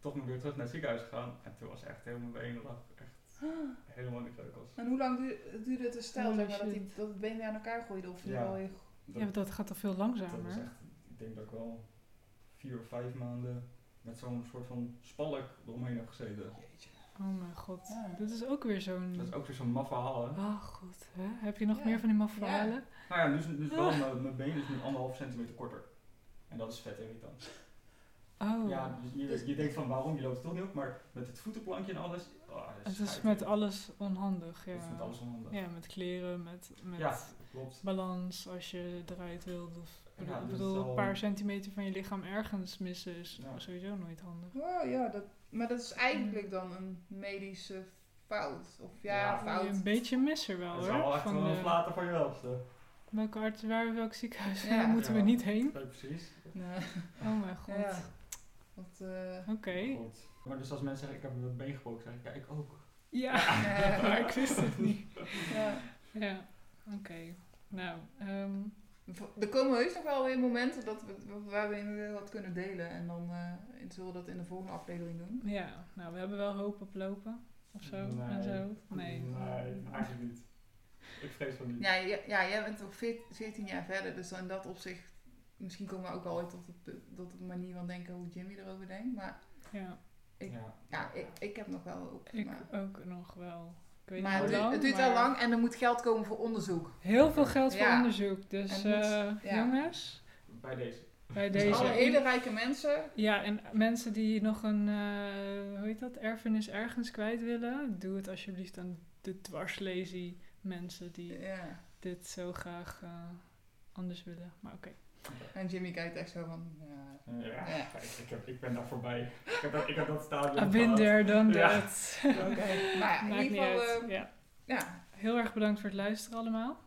toch nog weer terug naar het ziekenhuis gegaan. En toen was echt helemaal mijn been lag echt helemaal in de kreukels. En hoe lang duur- duurde het een stel, Holy zeg maar, dat, die, shit. dat het been weer aan elkaar gooide? Of Ja. wel weer... Ja, want dat gaat toch veel Dat is langzamer? echt, ik denk dat ik wel vier of vijf maanden met zo'n soort van spalk eromheen heb gezeten. Jeetje. Oh mijn god. Ja. Dit is ook weer zo'n... Dat is ook weer zo'n maf verhaal, hè. Ah, goed. Hè? Heb je nog Ja. meer van die maffe verhalen? Nou ja, nu is, nu is wel mijn, mijn been is nu anderhalf centimeter korter. En dat is vet irritant. Oh. Ja, dus je, Dus- je denkt van waarom, je loopt toch niet op, maar met het voetenplankje en alles... ah, dat Het is schijt. met alles onhandig, ja. Het is met alles onhandig. Ja, met kleren, met, met Ja. Klopt. balans als je eruit wilt. Of, Ja, ik dat bedoel, is al- een paar centimeter van je lichaam ergens missen is Ja. sowieso nooit handig. Oh, ja, dat, maar dat is eigenlijk dan een medische fout. Of ja, Ja. fout. Een beetje mis er wel, Dat is hoor. wel echt van wel een de- Hm. flater van je welste. welke arts, waar, welk ziekenhuis, Ja. daar moeten we Ja. niet heen. Nee, precies. Nee. Oh mijn god. Ja. Want, eh, Oké. Goed. Maar dus als mensen zeggen, ik heb mijn been gebroken, zeg ik, ja, ik ook. Ja, Ja. maar ik wist het niet. ja. Ja, oké. Nou, ehm, V- Er komen heus nog wel weer momenten dat we, waar we in weer wat kunnen delen. En dan eh, zullen we dat in de volgende aflevering doen. ja. Nou, we hebben wel hoop op lopen. Of zo. En Nee. zo. Nee. Nee, eigenlijk niet. Ik vrees van niet. Ja, j- ja jij bent toch veert- 14 jaar verder, dus in dat opzicht misschien komen we ook wel ooit tot, het pu- tot de manier van denken hoe Jimmy erover denkt. Maar Ja, Ik- ja. ja, ik, ik heb nog wel hoop. ik maar ook nog wel. Ik weet Nou. maar het, niet duurt- hoe het duurt maar wel lang en er moet geld komen voor onderzoek. Heel veel geld voor Ja. onderzoek. Dus En het moet- eh, ja. jongens, Bij deze. bij Dus deze. Alle hele rijke mensen. Ja, en mensen die nog een, eh, hoe heet dat, erfenis ergens kwijt willen, doe het alsjeblieft aan de dwarslazy mensen die Ja. dit zo graag eh, anders willen. Maar oké. En Jimmy kijkt echt zo van. Ja. Ja, Ja. kijk, ik, heb, ik ben daar voorbij. Ik heb dat, ik heb dat Okay. stadion I've been gehad. there, done Ja. that. Oké. Maar ja, Maakt in niet ieder geval. uit. eh, ja. ja. Heel erg bedankt voor het luisteren allemaal.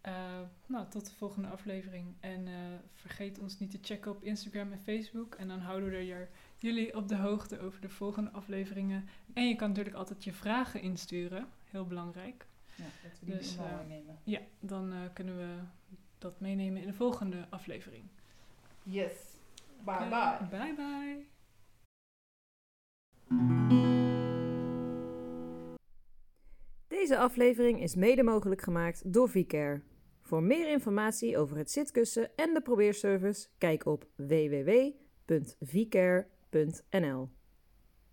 Eh, nou, tot de volgende aflevering. En eh, vergeet ons niet te checken op Instagram en Facebook. En dan houden we er je- jullie op de hoogte over de volgende afleveringen. En je kan natuurlijk altijd je vragen insturen. Heel belangrijk. ja, dat we die Dus, dus, eh, nemen. Ja, dan eh, kunnen we dat meenemen in de volgende aflevering. Yes. Bye Oké, bye. Bye bye. Deze aflevering is mede mogelijk gemaakt door VCare. Voor meer informatie over het zitkussen en de probeerservice, kijk op www.vcare.nl.